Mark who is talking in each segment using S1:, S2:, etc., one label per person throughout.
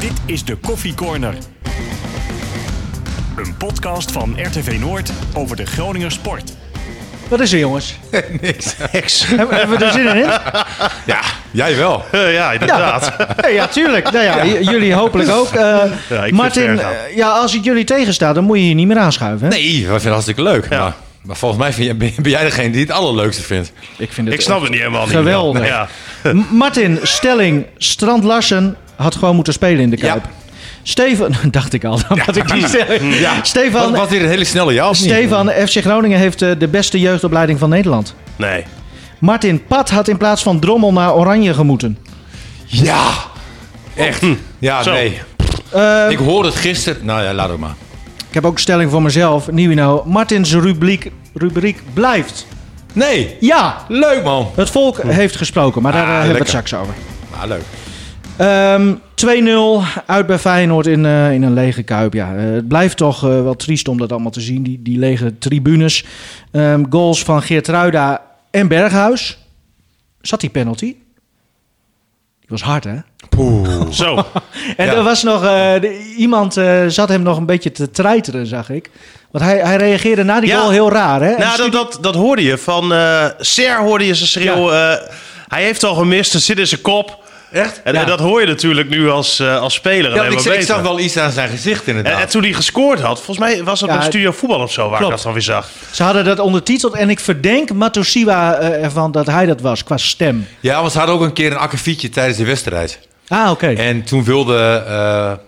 S1: Dit is de Koffie Corner. Een podcast van RTV Noord over de Groninger sport.
S2: Wat is er, jongens? Niks. Hebben hebben we er zin in?
S3: Ja, jij wel.
S4: Eh, ja, inderdaad.
S2: Nee, ja, tuurlijk. Nou ja, j- jullie hopelijk ook. Eh,
S4: vind het
S2: Martin,
S4: erg aan.
S2: eh, ja, als het jullie tegenstaat, dan moet je je niet meer aanschuiven. Hè?
S3: Nee, we vinden het hartstikke leuk. Maar, maar volgens mij vind jij- ben jij degene die het allerleukste vindt.
S2: Ik vind
S4: Ik snap het niet helemaal niet.
S2: Geweldig.
S4: Ja.
S2: M- Martin, stelling, Strand Larsen had gewoon moeten spelen in de
S3: Ja.
S2: Kuip. Stefan, dacht ik al, dan had ik die stelling.
S3: Wat
S2: Stefan,
S3: was dit een hele snelle ja of niet?
S2: Stefan, FC Groningen heeft eh, de beste jeugdopleiding van Nederland.
S4: Nee.
S2: Martin Pat had in plaats van Drommel naar Oranje gemoeten.
S3: Ja, echt. Ja,
S4: Zo.
S3: nee.
S2: Eh,
S3: Ik hoorde het gisteren. Nou ja, laat het maar.
S2: ik heb ook een stelling voor mezelf. Nieuwino, Martins rubriek, rubriek blijft.
S3: Nee,
S2: Ja,
S3: leuk man.
S2: het volk heeft gesproken, maar daar eh,
S3: Ah,
S2: hebben we het
S3: lekker.
S2: straks over.
S3: Maar leuk.
S2: Ehm, 2-0 uit bij Feyenoord in, eh, in een lege kuip. Ja, eh, het blijft toch eh, wel triest om dat allemaal te zien, die, die lege tribunes. Ehm, goals van Geertruida en Berghuis. Zat die penalty? Die was hard, hè?
S4: Zo.
S2: En
S3: Ja.
S2: er was nog eh, de- iemand, eh, zat hem nog een beetje te treiteren, zag ik. Want hij, hij reageerde na die
S4: Ja.
S2: goal heel raar, hè? En
S4: Nou, dat, dat, dat hoorde je. Van eh Ser hoorde je ze schreeuwen. eh, hij heeft al gemist, het zit in zijn kop.
S3: Echt?
S4: En
S2: Ja.
S4: eh, dat hoor je natuurlijk nu als, eh, als speler
S3: Ja,
S4: alleen
S3: want ik,
S4: maar
S3: zag- ik
S4: beter.
S3: zag wel iets aan zijn gezicht
S4: En,
S3: inderdaad.
S4: en toen hij gescoord had, volgens mij was dat
S2: Ja,
S4: een studio voetbal of zo waar
S2: klopt.
S4: ik dat dan weer zag.
S2: Ze hadden dat ondertiteld en ik verdenk Matosiwa eh, ervan dat hij dat was, qua stem.
S3: Ja, want ze hadden ook een keer een akkefietje tijdens de wedstrijd.
S2: Ah, oké.
S3: En toen wilde eh, eh,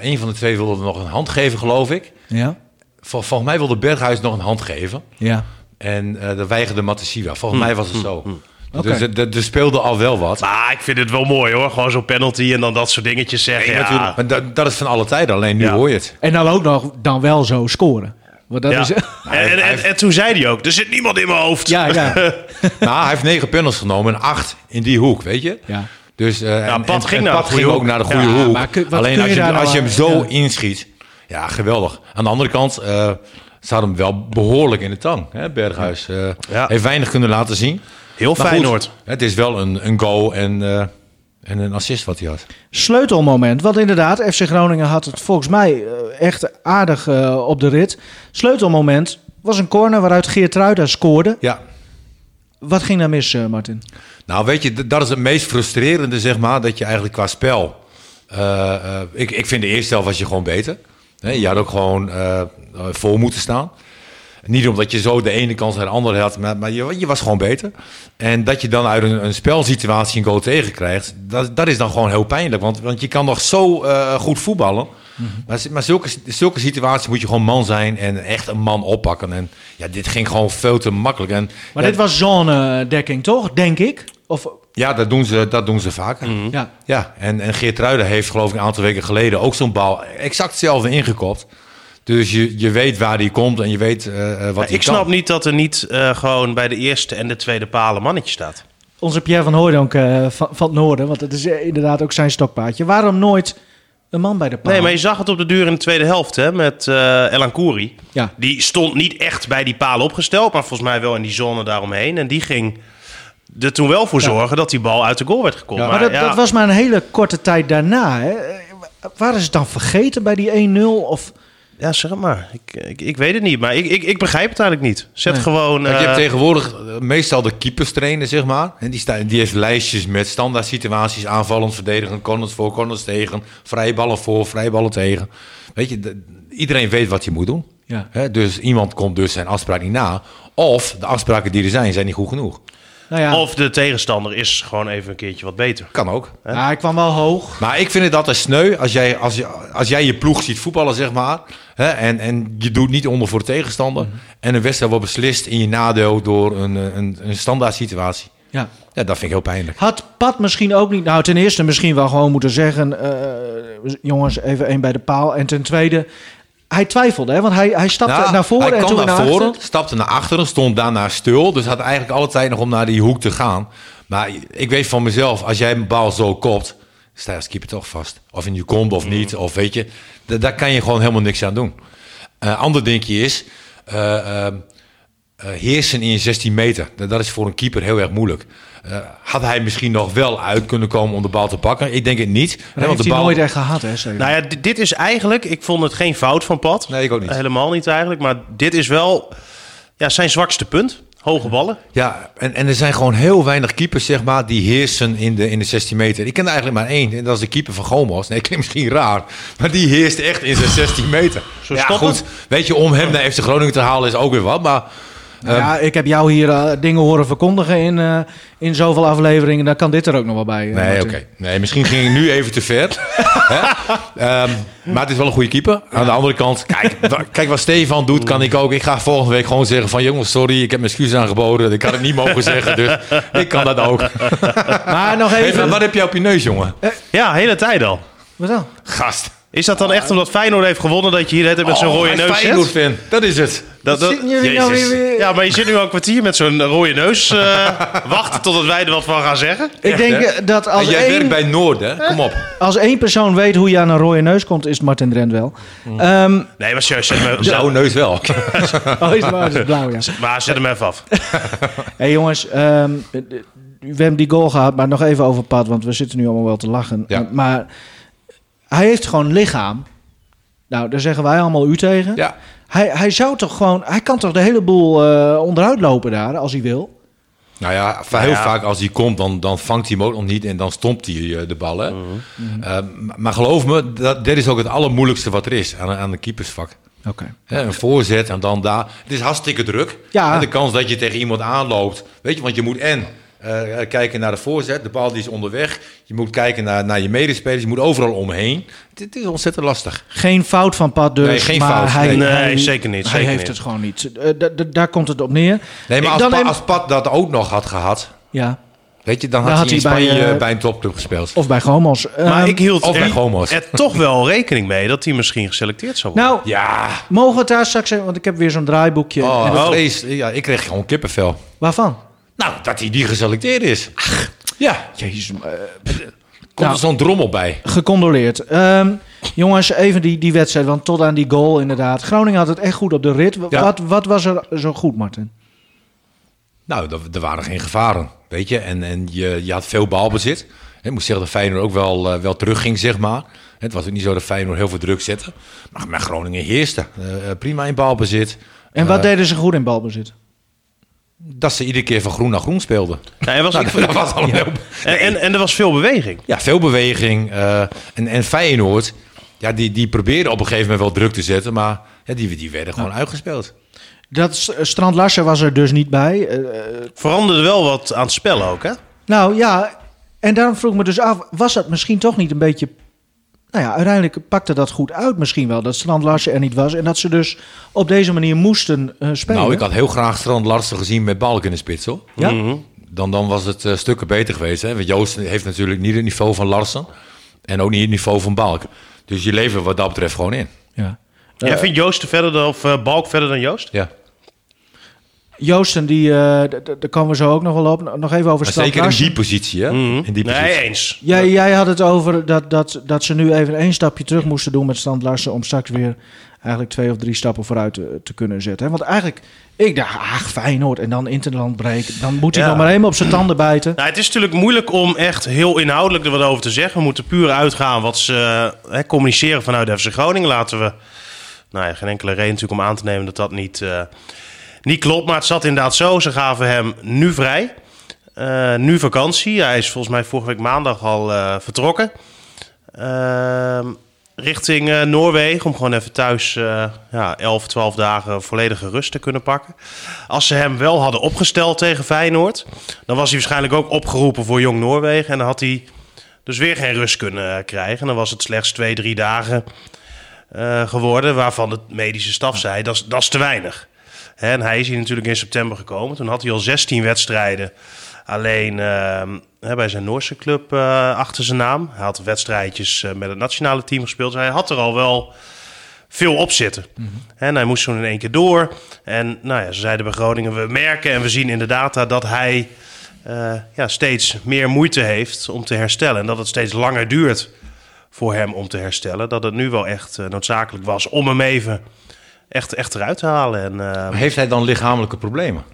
S3: een van de twee wilde nog een hand geven, geloof ik.
S2: Ja,
S3: Vol, volgens mij wilde Berghuis nog een hand geven.
S2: ja.
S3: En eh dat weigerde Matasiwa. Volgens mij was het zo.
S2: Oké.
S3: Dus er- er- er speelde al wel wat.
S4: Hmm. Maar ik vind het wel mooi hoor. Gewoon zo'n penalty en dan dat soort dingetjes zeggen.
S3: Ja,
S4: ja.
S3: natuurlijk. Maar dat, dat is van alle tijden, alleen nu
S4: Ja.
S3: hoor je het.
S2: En dan ook nog dan wel zo scoren. Want dat
S4: Ja.
S2: is...
S4: En, en, en, en toen zei hij ook, er zit niemand in mijn hoofd.
S2: Ja, ja.
S3: nou, hij heeft negen panels genomen en acht in die hoek, weet je?
S2: Ja.
S3: Dus eh en-
S4: Pat
S3: en- en
S4: ging naar de
S3: Pat
S4: goede
S3: ging ook
S4: hoek.
S3: naar de goede
S2: Ja,
S3: hoek.
S2: maar kun- wat kun
S3: alleen
S2: je
S3: als je,
S2: daar
S3: hem-
S2: nou
S3: als je hem
S2: aan-
S3: zo
S2: ja.
S3: inschiet, ja, geweldig. Aan de andere kant, eh ze hadden hem wel behoorlijk in de tang, hè, Berghuis. Eh,
S4: Ja.
S3: Heeft weinig kunnen laten zien.
S4: Heel
S3: Maar goed,
S4: Feyenoord.
S3: het is wel een, een goal en, eh, en een assist wat hij had.
S2: Sleutelmoment. Want inderdaad, FC Groningen had het volgens mij eh, echt aardig eh, op de rit. Sleutelmoment was een corner waaruit Geert Ruida scoorde.
S3: Ja,
S2: Wat ging daar mis, eh, Martin?
S3: Nou, weet je, d- dat is het meest frustrerende, zeg maar, dat je eigenlijk qua spel. eh, eh, ik, ik vind de eerste helft was je gewoon beter. Hè, je had ook gewoon eh, eh, voor moeten staan. Niet omdat je zo de ene kans naar de andere had, maar, maar je, je was gewoon beter. En dat je dan uit een, een spelsituatie een goal tegenkrijgt, dat, dat is dan gewoon heel pijnlijk. Want, want je kan nog zo eh, goed voetballen.
S2: Mhm.
S3: Maar, z- maar zulke, zulke situaties moet je gewoon man zijn en echt een man oppakken. En ja, dit ging gewoon veel te makkelijk. En,
S2: Maar
S3: ja,
S2: dit was zone-dekking, toch? Denk ik. Of,
S3: ja, dat doen ze, dat doen ze vaker.
S2: ja.
S3: Ja, en, en Geert Ruiden heeft geloof ik een aantal weken geleden ook zo'n bal exact hetzelfde ingekopt. Dus je, je weet waar die komt en je weet eh, eh, wat
S4: Maar
S3: hij
S4: ik
S3: kan.
S4: snap niet dat er niet eh, gewoon bij de eerste en de tweede paal een mannetje staat.
S2: Onze Pierre van Hooydonk eh, van, van het Noorden. Want dat is eh, inderdaad ook zijn stokpaardje. Waarom nooit een man bij de paal?
S4: Nee, maar je zag het op de duur in de tweede helft hè, met eh Elan Kouri.
S2: Ja.
S4: Die stond niet echt bij die palen opgesteld, maar volgens mij wel in die zone daaromheen. En die ging er toen wel voor
S2: Ja.
S4: zorgen dat die bal uit de goal werd gekomen.
S2: Maar, dat,
S4: ja,
S2: dat was maar een hele korte tijd daarna. Hè. Eh, Waren ze het dan vergeten bij die 1-0? Of...
S4: ja, zeg het maar. Ik, ik, ik weet het niet, maar ik, ik, ik begrijp het eigenlijk niet. Zet
S2: Nee.
S4: gewoon...
S3: Kijk, je hebt
S4: eh,
S3: tegenwoordig eh, meestal de keepers trainen, zeg maar. En die, sta, die heeft lijstjes met standaard situaties. Aanvallend, verdedigend, corners voor, corners tegen. Vrijballen voor, vrijballen tegen. Weet je, de- iedereen weet wat hij moet doen.
S2: Ja.
S3: Hè, dus iemand komt dus zijn afspraak niet na. Of de afspraken die er zijn, zijn niet goed genoeg.
S2: Nou ja,
S4: Of de tegenstander is gewoon even een keertje wat beter.
S3: Kan ook.
S2: ja, hij kwam wel hoog.
S3: Maar ik vind het altijd sneu als jij, als, je- als jij je ploeg ziet voetballen, zeg maar. Hè, en, en je doet niet onder voor de tegenstander. En een wedstrijd wordt beslist in je nadeel door een, eh, een, een standaard situatie.
S2: Ja.
S3: Ja, dat vind ik heel pijnlijk.
S2: Had Pat misschien ook niet... Nou, ten eerste misschien wel gewoon moeten zeggen... eh, jongens, even één bij de paal. En ten tweede, hij twijfelde. Hè, want hij, hij stapte
S3: Nou,
S2: naar voren
S3: hij
S2: en
S3: kwam
S2: toen
S3: naar,
S2: naar,
S3: voren,
S2: achteren.
S3: stapte naar achteren, stond daarna stil. Dus had eigenlijk alle tijd nog om naar die hoek te gaan. Maar ik weet van mezelf, als jij een bal zo kopt, sta je als keeper toch vast. Of in je kont of
S2: Mm.
S3: niet, of weet je. da- Daar kan je gewoon helemaal niks aan doen. Eh ander dingetje is, eh, ehm, eh, heersen in je 16 meter. Dat, dat is voor een keeper heel erg moeilijk. eh, had hij misschien nog wel uit kunnen komen om de bal te pakken? Ik denk het niet. hè,
S2: Dat
S3: want
S2: heeft
S3: de
S2: hij
S3: bal...
S2: nooit echt gehad, hè? Steven?
S4: Nou ja, di- dit is eigenlijk... Ik vond het geen fout van Pat.
S3: Nee, ik ook niet.
S4: Helemaal niet eigenlijk. Maar dit is wel ja, zijn zwakste punt. Hoge ballen.
S3: Ja, en, en er zijn gewoon heel weinig keepers, zeg maar, die heersen in de, in de 16 meter. Ik ken er eigenlijk maar één, en dat is de keeper van Gomos. Nee, klinkt misschien raar, maar die heerst echt in zijn 16 meter.
S4: Zo
S3: ja,
S4: stoppen?
S3: goed, weet je, om hem naar FC Groningen te halen is ook weer wat, maar... Ehm,
S2: Nou ja, ik heb jou hier eh, dingen horen verkondigen in, eh, in zoveel afleveringen. Dan kan dit er ook nog wel bij. eh,
S3: Nee,
S2: Martin.
S3: oké. Nee, misschien ging ik nu even te ver. Hè? Ehm, maar het is wel een goede keeper. Aan de andere kant, kijk, wa- kijk wat Stefan doet, kan ik ook. Ik ga volgende week gewoon zeggen van... jongens, sorry, ik heb mijn excuus aangeboden. Ik had het niet mogen zeggen, dus ik kan dat ook.
S2: Maar nog
S3: Hey, maar
S2: even.
S3: wat heb jij op je neus, jongen?
S4: Ja, hele tijd al.
S2: Wat dan?
S3: Gast.
S4: Is dat dan echt omdat Feyenoord heeft gewonnen dat je hier net met zo'n
S3: Oh,
S4: rode
S3: hij is
S4: neus
S3: Feyenoord
S4: zit?
S3: fan. Dat is het.
S4: Dat, dat-
S2: Zitten jullie nou weer,
S3: Jezus.
S2: weer-
S4: ja, maar je zit nu al een kwartier met zo'n rode neus. eh, wachten totdat wij er wat van gaan zeggen.
S2: Ik denk
S3: hè?
S2: eh, dat
S3: En
S2: als
S3: jij werkt
S2: één,
S3: bij Noord, hè? Kom op.
S2: als één persoon weet hoe je aan een rode neus komt, is het Martin Drent wel.
S3: Mm.
S2: Ehm,
S4: Nee, maar serieus, zet me,
S3: Jouw neus wel.
S2: oh, is waar, is blauw, ja.
S4: maar zet hem even af.
S2: hey, jongens, ehm, we hebben die goal gehad, maar nog even over Pat, want we zitten nu allemaal wel te lachen. Eh,
S3: Ja.
S2: Maar hij heeft gewoon lichaam. Nou, daar zeggen wij allemaal u tegen.
S3: Ja.
S2: Hij, hij zou toch gewoon, hij kan toch de hele boel eh, onderuit lopen daar als hij wil.
S3: Nou ja, va- heel
S4: Ja.
S3: vaak als hij komt, dan, dan vangt hij hem ook nog niet en dan stompt hij eh, de ballen.
S4: Mhm.
S3: Eh, maar- maar geloof me, dat, dit is ook het allermoeilijkste wat er is aan, aan de keepersvak.
S2: Oké.
S3: Hè, een voorzet en dan daar. Het is hartstikke druk.
S2: Ja.
S3: En de kans dat je tegen iemand aanloopt. Weet je, want je moet en eh, kijken naar de voorzet. De bal die is onderweg. Je moet kijken naar, naar je medespelers. Je moet overal omheen. Het, het is ontzettend lastig.
S2: Geen fout van Pat dus,
S3: Nee, geen
S2: maar
S3: fout.
S2: Hij,
S4: Nee,
S2: hij-
S4: zeker niet,
S2: Hij
S4: zeker
S2: heeft
S4: niet.
S2: het gewoon niet. Eh, d- d- daar komt het op neer.
S3: Nee, maar
S2: Ik-
S3: als,
S2: dan
S3: Pa-
S2: neem-
S3: als Pat dat ook nog had gehad.
S2: Ja,
S3: Weet je, dan had
S2: Dan
S3: hij in
S2: had hij bij,
S3: Spanje bij,
S2: eh,
S3: een topclub gespeeld.
S2: of bij Gomos.
S4: Maar
S2: Ehm,
S4: ik hield
S3: of bij
S4: er,
S3: homo's.
S4: er toch wel rekening mee dat hij misschien geselecteerd zou worden.
S2: Nou,
S3: Ja.
S2: mogen we het daar straks even... Want ik heb weer zo'n draaiboekje.
S3: Oh,
S2: En-
S3: dat vlees. Ja, ik kreeg gewoon kippenvel.
S2: Waarvan?
S3: Nou, dat hij die geselecteerd is. Ja.
S2: Jezus,
S3: Komt
S2: Nou.
S3: er zo'n drommel bij.
S2: Gecondoleerd. Ehm, jongens, even die, die wedstrijd, want tot aan die goal inderdaad. Groningen had het echt goed op de rit. W-
S3: Ja.
S2: Wat, wat was er zo goed, Martin?
S3: Nou, er- er waren geen gevaren, weet je. En, en je, je had veel balbezit. Ik moet zeggen dat Feyenoord ook wel, eh, wel terugging, zeg maar. Het was ook niet zo dat Feyenoord heel veel druk zette. Maar, maar Groningen heerste. Eh, eh, prima in balbezit.
S2: En wat
S3: Eh,
S2: deden ze goed in balbezit?
S3: Dat ze iedere keer van groen naar groen speelden.
S4: Nou, er was,
S3: Nou, dat was allemaal heel...
S4: en, en, en er was veel beweging.
S3: Ja, veel beweging. eh, en, en Feyenoord, ja, die, die probeerde op een gegeven moment wel druk te zetten. Maar ja, die, die werden gewoon uitgespeeld.
S2: Dat S- eh, Strand Larsen was er dus niet bij. Eh,
S4: Veranderde wel wat aan het spel ook, hè?
S2: nou ja, en daarom vroeg ik me dus af, was dat misschien toch niet een beetje... Nou ja, uiteindelijk pakte dat goed uit misschien wel, dat Strand Larsen er niet was. En dat ze dus op deze manier moesten eh, spelen.
S3: Nou, ik had Mhm. heel graag Strand Larsen gezien met balken in de spits, hoor.
S2: Ja?
S3: Dan, dan was het eh, stukken beter geweest. Hè? Want Joost heeft natuurlijk niet het niveau van Larsen. En ook niet het niveau van Balk. Dus je levert wat dat betreft gewoon in.
S2: ja.
S4: Jij vindt Joost te verder dan, of eh, Balk verder dan Joost?
S3: Ja.
S2: Joosten, die, eh, d- d- daar komen we zo ook nog wel op. Nog even over
S3: Maar
S2: Strand
S3: zeker in
S2: Larsen.
S3: die positie, hè? In die positie.
S4: Nee, eens.
S2: Jij, jij had het over dat, dat, dat ze nu even één stapje terug moesten doen met Strand Larsen... om straks weer eigenlijk twee of drie stappen vooruit te, te kunnen zetten. hè? Want eigenlijk, ik dacht, ach, Feyenoord en dan Interland breken. Dan moet hij
S4: Ja.
S2: nog maar helemaal op zijn tanden bijten.
S4: Nou, het is natuurlijk moeilijk om echt heel inhoudelijk er wat over te zeggen. We moeten puur uitgaan wat ze eh, hè, communiceren vanuit FC Groningen. Laten we nou ja, geen enkele reden natuurlijk om aan te nemen dat dat niet, eh, niet klopt. Maar het zat inderdaad zo. Ze gaven hem nu vrij. Eh, nu vakantie. Hij is volgens mij vorige week maandag al eh, vertrokken. Ehm, richting eh, Noorwegen. Om gewoon even thuis eh ja, 11, 12 dagen volledige rust te kunnen pakken. Als ze hem wel hadden opgesteld tegen Feyenoord. dan was hij waarschijnlijk ook opgeroepen voor Jong Noorwegen. En dan had hij dus weer geen rust kunnen eh, krijgen. En dan was het slechts twee, drie dagen eh, geworden. waarvan de medische staf zei: dat is- dat is te weinig. Hè, En hij is hier natuurlijk in september gekomen. Toen had hij al 16 wedstrijden alleen ehm, hè, bij zijn Noorse club eh, achter zijn naam. Hij had wedstrijdjes eh, met het nationale team gespeeld. Dus hij had er al wel veel op zitten. En hij moest toen in één keer door. En nou ja, ze zeiden bij Groningen, we merken en we zien in de data dat hij eh, ja, steeds meer moeite heeft om te herstellen. En dat het steeds langer duurt voor hem om te herstellen. Dat het nu wel echt eh, noodzakelijk was om hem even echt, echt eruit te halen. En, eh,
S3: Heeft hij dan lichamelijke problemen?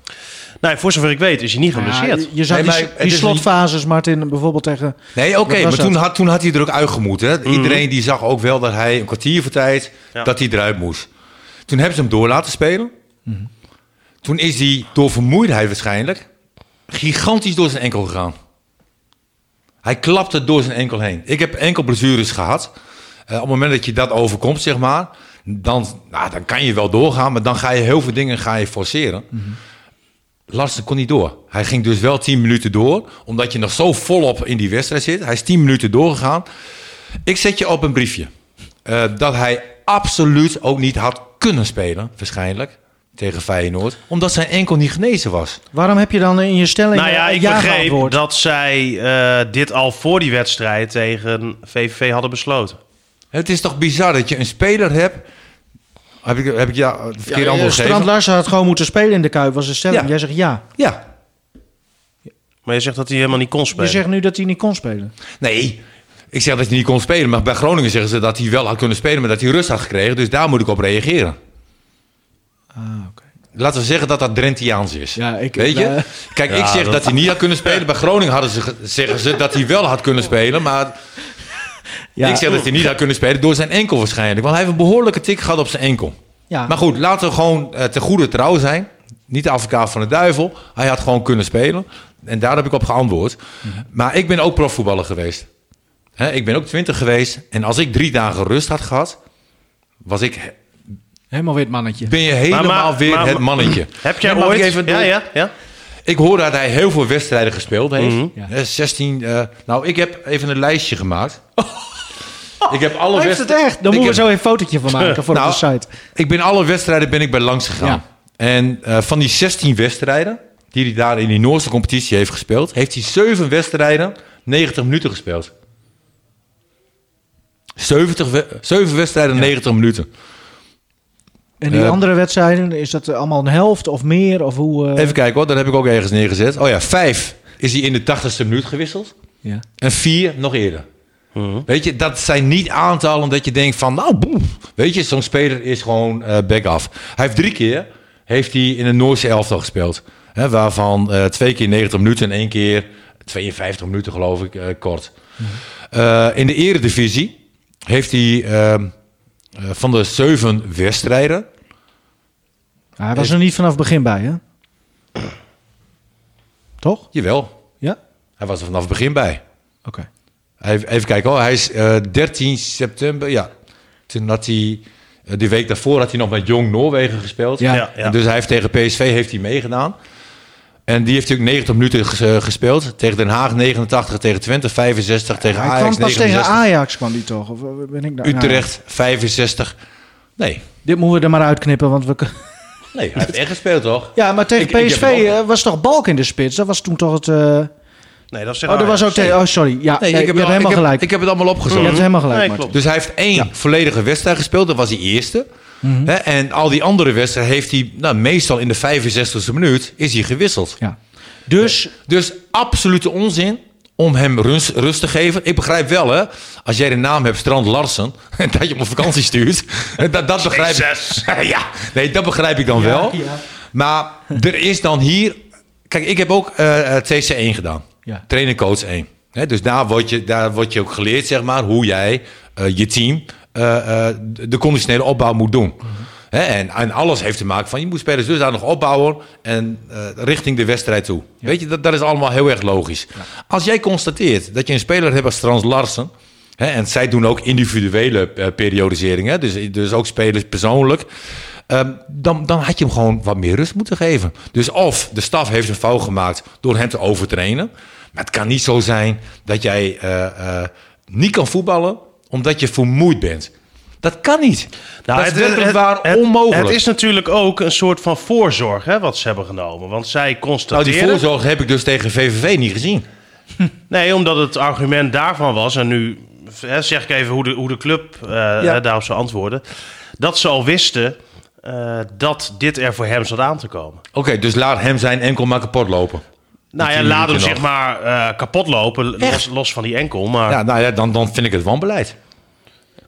S4: nou, voor zover ik weet is hij
S3: Nou
S4: niet
S2: Ja,
S4: geblesseerd.
S2: je- je zag
S3: Nee,
S2: die,
S3: maar
S2: die
S3: het is
S2: slotfases, Martin, bijvoorbeeld tegen...
S3: Nee, oké,
S2: Dat Mhm. was
S3: maar toen
S2: het.
S3: had, toen had hij er ook uitgemoet. Hè? Iedereen die zag ook wel dat hij een kwartier voor tijd
S4: Ja.
S3: dat hij eruit moest. Toen hebben ze hem door laten spelen.
S2: Mhm.
S3: Toen is hij door vermoeidheid waarschijnlijk gigantisch door zijn enkel gegaan. Hij klapte door zijn enkel heen. Ik heb enkel blessures gehad. Eh, op het moment dat je dat overkomt, zeg maar, dan, nou, dan kan je wel doorgaan, maar dan ga je heel veel dingen ga je forceren. Larsen kon niet door. Hij ging dus wel 10 minuten door, omdat je nog zo volop in die wedstrijd zit. Hij is 10 minuten doorgegaan. Ik zet je op een briefje eh, dat hij absoluut ook niet had kunnen spelen, waarschijnlijk, tegen Feyenoord, omdat zijn enkel niet genezen was.
S2: Waarom heb je dan in je stelling
S4: Nou ja,
S2: eh,
S4: ik
S2: ja
S4: begreep
S2: geantwoord?
S4: dat zij eh, dit al voor die wedstrijd tegen VVV hadden besloten.
S3: Het is toch bizar dat je een speler hebt. Heb ik, heb ik ja, de verkeerde
S2: Eh,
S3: antwoord
S2: Strand
S3: gegeven?
S2: Larsen had gewoon moeten spelen in de Kuip, was de stelling.
S3: Ja.
S2: Jij zegt ja.
S3: Ja.
S4: Maar je zegt dat hij helemaal niet kon
S2: Je
S4: spelen.
S2: zegt nu dat hij niet kon spelen.
S3: Nee, ik zeg dat hij niet kon spelen. Maar bij Groningen zeggen ze dat hij wel had kunnen spelen, maar dat hij rust had gekregen. Dus daar moet ik op reageren. Laten we zeggen dat dat Drentiaans is.
S2: Ah, Ja, ik-
S3: Weet je?
S2: eh,
S3: Kijk, ik
S4: Ja,
S3: zeg dat...
S4: dat-
S3: hij niet had kunnen spelen. Bij Groningen hadden ze, ge- zeggen ze dat hij wel had kunnen spelen. Maar
S2: Ja,
S3: ik zeg dat hij niet had kunnen spelen door zijn enkel waarschijnlijk. Want hij heeft een behoorlijke tik gehad op zijn enkel.
S2: Ja.
S3: Maar goed, laten we gewoon eh, ten goede trouw zijn. Niet de advocaat van de duivel. Hij had gewoon kunnen spelen. En daar heb ik op geantwoord.
S2: Mhm.
S3: Maar ik ben ook profvoetballer geweest. Hè, ik ben ook twintig geweest. En als ik drie dagen rust had gehad, was ik,
S2: helemaal wit mannetje.
S3: ben je helemaal weer
S4: maar-
S3: het mannetje.
S4: Heb jij
S3: Nee, mag ik
S4: ooit...
S3: even
S4: ja,
S3: door-
S4: ja, ja.
S3: ik hoor dat hij heel veel wedstrijden gespeeld heeft.
S2: Ja.
S3: Hè, 16. eh, nou, ik heb even een lijstje gemaakt. ik heb alle
S2: Hij heeft het
S3: wedstrijden.
S2: echt. Dan
S3: Ik
S2: moeten
S3: heb-
S2: we zo een fotootje van maken voor
S3: Nou,
S2: op de site.
S3: Ik ben alle wedstrijden ben ik bij langs gegaan.
S2: Ja.
S3: En eh, van die 16 wedstrijden die hij daar in die Noorse competitie heeft gespeeld, heeft hij 7 wedstrijden 90 minuten gespeeld. 70 we- 7 wedstrijden 90 minuten.
S2: En die
S3: eh,
S2: andere wedstrijden, is dat eh, allemaal een helft of meer? Of hoe, eh,
S3: Even kijken hoor, dat heb ik ook ergens neergezet. Oh ja, 5 is hij in de 80ste minuut gewisseld.
S2: ja.
S3: En 4 nog eerder. Weet je, dat zijn niet aantallen dat je denkt van, nou, boem. Weet je, zo'n speler is gewoon eh back af. Hij heeft drie keer heeft hij in een Noorse elftal gespeeld. Hè, waarvan eh, twee keer 90 minuten en één keer 52 minuten, geloof ik, eh, kort. Eh, in de eredivisie heeft hij ehm, eh, van de zeven wedstrijden...
S2: Ah, Hij was er niet vanaf het begin bij, hè? Toch?
S3: Jawel,
S2: Ja?
S3: hij was er vanaf het begin bij.
S2: Oké.
S3: Hij- Even kijken, oh, hij is eh, 13 september. Ja, toen had hij. eh, Die week daarvoor had hij nog met Jong Noorwegen gespeeld.
S2: Ja.
S4: Ja, ja.
S3: En dus hij heeft tegen PSV heeft hij meegedaan. En die heeft natuurlijk 90 minuten ges- eh, gespeeld. Tegen Den Haag 89, tegen Twente 65, tegen
S2: Hij
S3: Ajax
S2: kwam pas tegen
S3: 69.
S2: Ajax, kwam die toch? Of eh, ben ik daar?
S3: Utrecht 65. Nee,
S2: Nou, dit moeten we er maar uitknippen, want we... kun-
S3: nee, hij heeft echt gespeeld toch?
S2: Ja, maar tegen
S3: Ik- ik heb
S2: PSV
S3: hem ook.
S2: eh, was toch Balk in de spits? Dat was toen toch het... eh,
S4: Nee, dat is
S2: Oh, dat was ook tegen... Oh, sorry. Ja,
S3: Nee,
S2: eh, je
S3: het
S2: hebt
S3: al-
S2: helemaal
S3: ik heb-
S2: gelijk.
S3: Ik heb het allemaal
S2: Je
S3: opgezocht.
S2: hebt helemaal gelijk,
S4: Nee,
S2: Martin.
S4: klopt.
S3: Dus hij heeft één volledige wedstrijd gespeeld. Dat was die eerste.
S2: Mhm.
S3: Hè, en al die andere wedstrijden heeft hij... Nou, meestal in de 65e minuut is hij gewisseld.
S2: Ja. Dus,
S3: Dus absolute onzin om hem rust, rust te geven. Ik begrijp wel, hè. Als jij de naam hebt Strand Larsen... en dat je hem op vakantie stuurt... dat, dat begrijp ik. ja, nee, dat begrijp ik dan wel.
S2: ja.
S3: Maar er is dan hier... Kijk, ik heb ook eh, eh, TC1 gedaan.
S2: Ja.
S3: Trainer coach 1. Hè, dus daar word, je, daar word je ook geleerd, zeg maar, hoe jij eh, je team eh, eh, de conditionele opbouw moet doen.
S2: Mhm.
S3: Hè, en, en alles heeft te maken van je moet spelers dus daar nog opbouwen en eh, richting de wedstrijd toe. Weet je, dat, dat is allemaal heel erg logisch. Als jij constateert dat je een speler hebt als Trans Larsen. Hè, en zij doen ook individuele eh, periodiseringen. hè, Dus, dus ook spelers persoonlijk. Ehm, dan, dan had je hem gewoon wat meer rust moeten geven. Dus of de staf heeft een fout gemaakt door hem te overtrainen. Maar het kan niet zo zijn dat jij eh, eh, niet kan voetballen omdat je vermoeid bent. Dat kan niet. dat is werkelijk waar onmogelijk.
S4: Nou, Het is natuurlijk ook een soort van voorzorg hè, wat ze hebben genomen. Want zij
S3: nou,
S4: constateren...
S3: die voorzorg heb ik dus tegen VVV niet gezien.
S4: Nee, omdat het argument daarvan was... en nu hè, zeg ik even hoe de, hoe de club eh, hè, daarop zou antwoorden... dat ze al wisten eh, dat dit er voor hem zat aan te komen.
S3: Oké, dus laat hem zijn enkel maar kapot lopen.
S4: Nou ja,
S3: tien
S4: laat hem
S3: minuten
S4: zeg
S3: nog.
S4: maar eh, kapot lopen, los,
S3: Echt?
S4: los van die enkel. Maar
S3: Ja, nou ja, dan, dan vind ik het wanbeleid.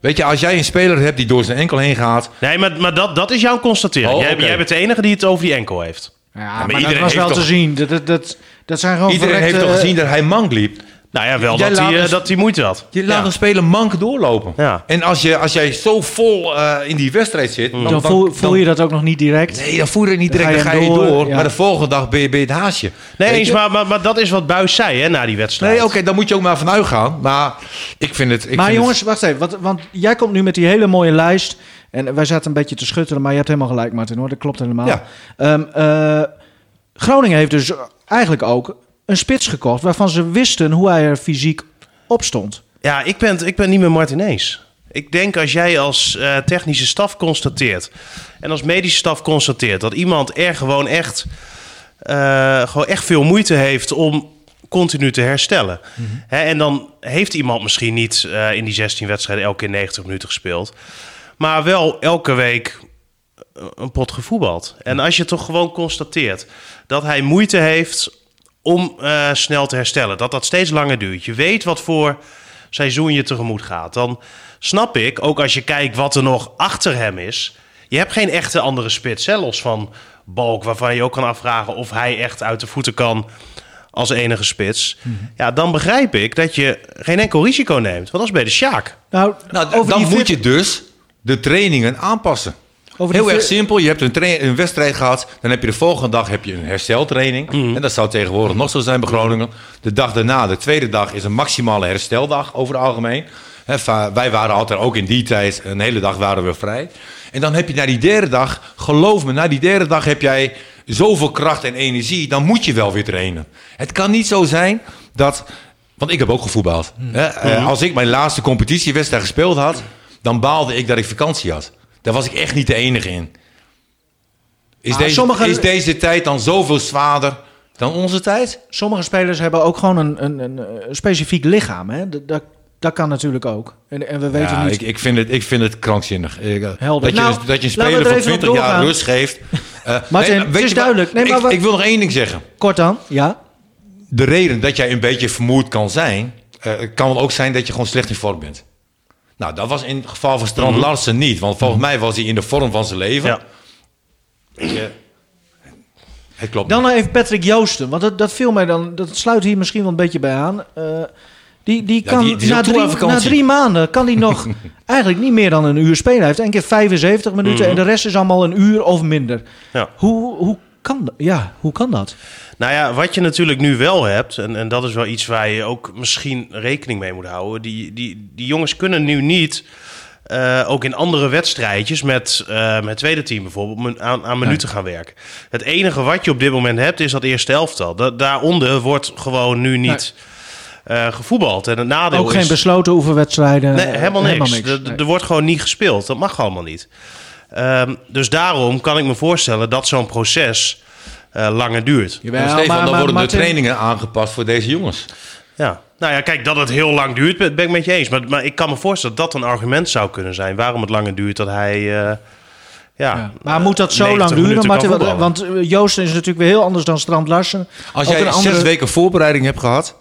S3: Weet je, als jij een speler hebt die door zijn enkel heen gaat...
S4: Nee, maar, maar dat, dat is jouw constatering.
S3: Oh,
S4: jij,
S3: oké.
S4: jij bent de enige die het over die enkel heeft.
S2: Ja,
S3: maar
S2: maar, dat
S3: iedereen
S2: was wel
S3: heeft
S2: te
S3: toch-
S2: zien. Dat, dat, dat, dat zijn gewoon
S3: Iedereen heeft
S2: verrekte-
S3: toch gezien dat hij mank liep?
S4: Nou ja, wel
S3: Jij
S4: dat hij,
S3: laat
S4: eh,
S3: eens-
S4: dat hij moeite had.
S3: Je laat
S4: Ja.
S3: een speler mank doorlopen.
S4: Ja.
S3: En als, je, als jij zo vol eh, in die wedstrijd zit...
S2: Dan voel, voel je dat ook nog niet direct.
S3: Nee, dan voer je niet direct, dan ga je, door.
S2: ja.
S3: Maar de volgende dag ben je, ben je het haasje.
S4: Nee,
S3: Weet
S4: eens,
S3: je?
S4: maar, maar, maar dat is wat Buis zei hè, na die wedstrijd.
S3: Nee, oké, dan moet je ook maar vanuit gaan. Maar ik vind het... Ik
S2: maar
S3: vind
S2: jongens,
S3: het-
S2: wacht even. Wat, want jij komt nu met die hele mooie lijst. En wij zaten een beetje te schutteren, maar je hebt helemaal gelijk, Martin. Hoor. Dat klopt helemaal.
S3: Ja.
S2: Ehm, eh, Groningen heeft dus eigenlijk ook een spits gekocht... waarvan ze wisten hoe hij er fysiek op stond.
S4: Ja, ik ben, ik ben niet meer Martinez. Ik denk als jij als eh, technische staf constateert en als medische staf constateert dat iemand er gewoon echt, eh, gewoon echt veel moeite heeft om continu te herstellen. Hè, en dan heeft iemand misschien niet eh, in die 16 wedstrijden elke keer 90 minuten gespeeld, maar wel elke week een pot gevoetbald. En als je toch gewoon constateert dat hij moeite heeft om eh, snel te herstellen, dat dat steeds langer duurt. Je weet wat voor seizoen je tegemoet gaat. Dan snap ik, ook als je kijkt wat er nog achter hem is. Je hebt geen echte andere spits, hè, los van Balk, waarvan je ook kan afvragen of hij echt uit de voeten kan als enige spits. Ja, dan begrijp ik dat je geen enkel risico neemt. Want dat is bij de Sjaak.
S2: Nou,
S3: Nou,
S2: over
S3: dan
S2: die
S3: moet
S2: fit-
S3: je dus de trainingen aanpassen.
S2: over die
S3: Heel erg
S2: fit-
S3: simpel. Je hebt een, tra- een wedstrijd gehad. Dan heb je de volgende dag heb je een hersteltraining. En dat zou tegenwoordig nog zo zijn bij Groningen. De dag daarna, de tweede dag, is een maximale hersteldag over het algemeen. Hè, va- wij waren altijd ook in die tijd, een hele dag waren we vrij. En dan heb je na die derde dag, geloof me, na die derde dag heb jij zoveel kracht en energie. Dan moet je wel weer trainen. Het kan niet zo zijn dat. Want ik heb ook gevoetbald. Hè, eh, als ik mijn laatste competitiewedstrijd gespeeld had, dan baalde ik dat ik vakantie had. Daar was ik echt niet de enige in. Is,
S2: Maar
S3: deze,
S2: sommige-
S3: is deze tijd dan zoveel zwaarder dan onze tijd?
S2: Sommige spelers hebben ook gewoon een, een, een eh, specifiek lichaam. Hè? Dat, dat, dat kan natuurlijk ook. En, en we weten
S3: Ja,
S2: niet...
S3: ik, ik, vind het, ik vind het krankzinnig. Ik, eh,
S2: Helder.
S3: Dat je,
S2: Nou,
S3: dat je een
S2: laten we er
S3: speler
S2: even
S3: van
S2: op
S3: 20 jaar
S2: doorgaan.
S3: rust geeft. Eh,
S2: Martin,
S3: maar
S2: het
S3: weet
S2: is
S3: je wat?
S2: duidelijk. Nee, maar
S3: ik,
S2: wat-
S3: ik wil nog één ding zeggen.
S2: Kort dan, ja.
S3: De reden dat jij een beetje vermoeid kan zijn... eh, kan wel ook zijn dat je gewoon slecht in vorm bent. Nou, dat was in het geval van Strand Larsen niet. Want volgens mij was hij in de vorm van zijn leven.
S4: Ja.
S3: Eh, het klopt
S2: Dan nog even Patrick Joosten, want dat, dat viel mij dan, dat sluit hier misschien wel een beetje bij aan. Eh, die, die
S3: Ja,
S2: kan
S3: die- die is
S2: na,
S3: ook toe aan
S2: drie,
S3: vakantie.
S2: na drie maanden kan hij nog eigenlijk niet meer dan een uur spelen. Hij heeft één keer 75 minuten en de rest is allemaal een uur of minder.
S4: Ja.
S2: Hoe, hoe, kan, dat- ja, hoe kan dat?
S4: Nou ja, wat je natuurlijk nu wel hebt, en, en dat is wel iets waar je ook misschien rekening mee moet houden. Die, die, die jongens kunnen nu niet, eh, ook in andere wedstrijdjes, met, eh, met het tweede team bijvoorbeeld, men- aan, aan minuten gaan werken. Het enige wat je op dit moment hebt, is dat eerste elftal. Da- daaronder wordt gewoon nu niet eh, gevoetbald. En het nadeel
S2: Ook geen
S4: is...
S2: besloten oefenwedstrijden.
S4: Nee,
S2: eh,
S4: helemaal niks. Er-
S2: Nee.
S4: Er wordt gewoon niet gespeeld. Dat mag allemaal niet. Ehm, dus daarom kan ik me voorstellen dat zo'n proces eh, langer duurt.
S2: Jawel,
S3: En Stefan,
S2: maar-
S3: dan
S2: maar
S3: worden
S2: Martin-
S3: de trainingen aangepast voor deze jongens.
S4: Ja. Nou ja, kijk, dat het heel lang duurt, ben ben ik met je eens. Maar, maar ik kan me voorstellen dat dat een argument zou kunnen zijn. Waarom het langer duurt dat hij... eh, ja,
S2: Ja. Maar moet
S3: Eh,
S2: dat zo
S4: 90
S2: lang duren?
S4: minuten
S2: Martin?
S4: kan
S2: want,
S4: voetballen?
S2: want eh, Joosten is natuurlijk weer heel anders dan Strand Larsen.
S3: Als
S2: Ook
S3: jij
S2: een
S3: zes
S2: andere-
S3: weken voorbereiding hebt gehad...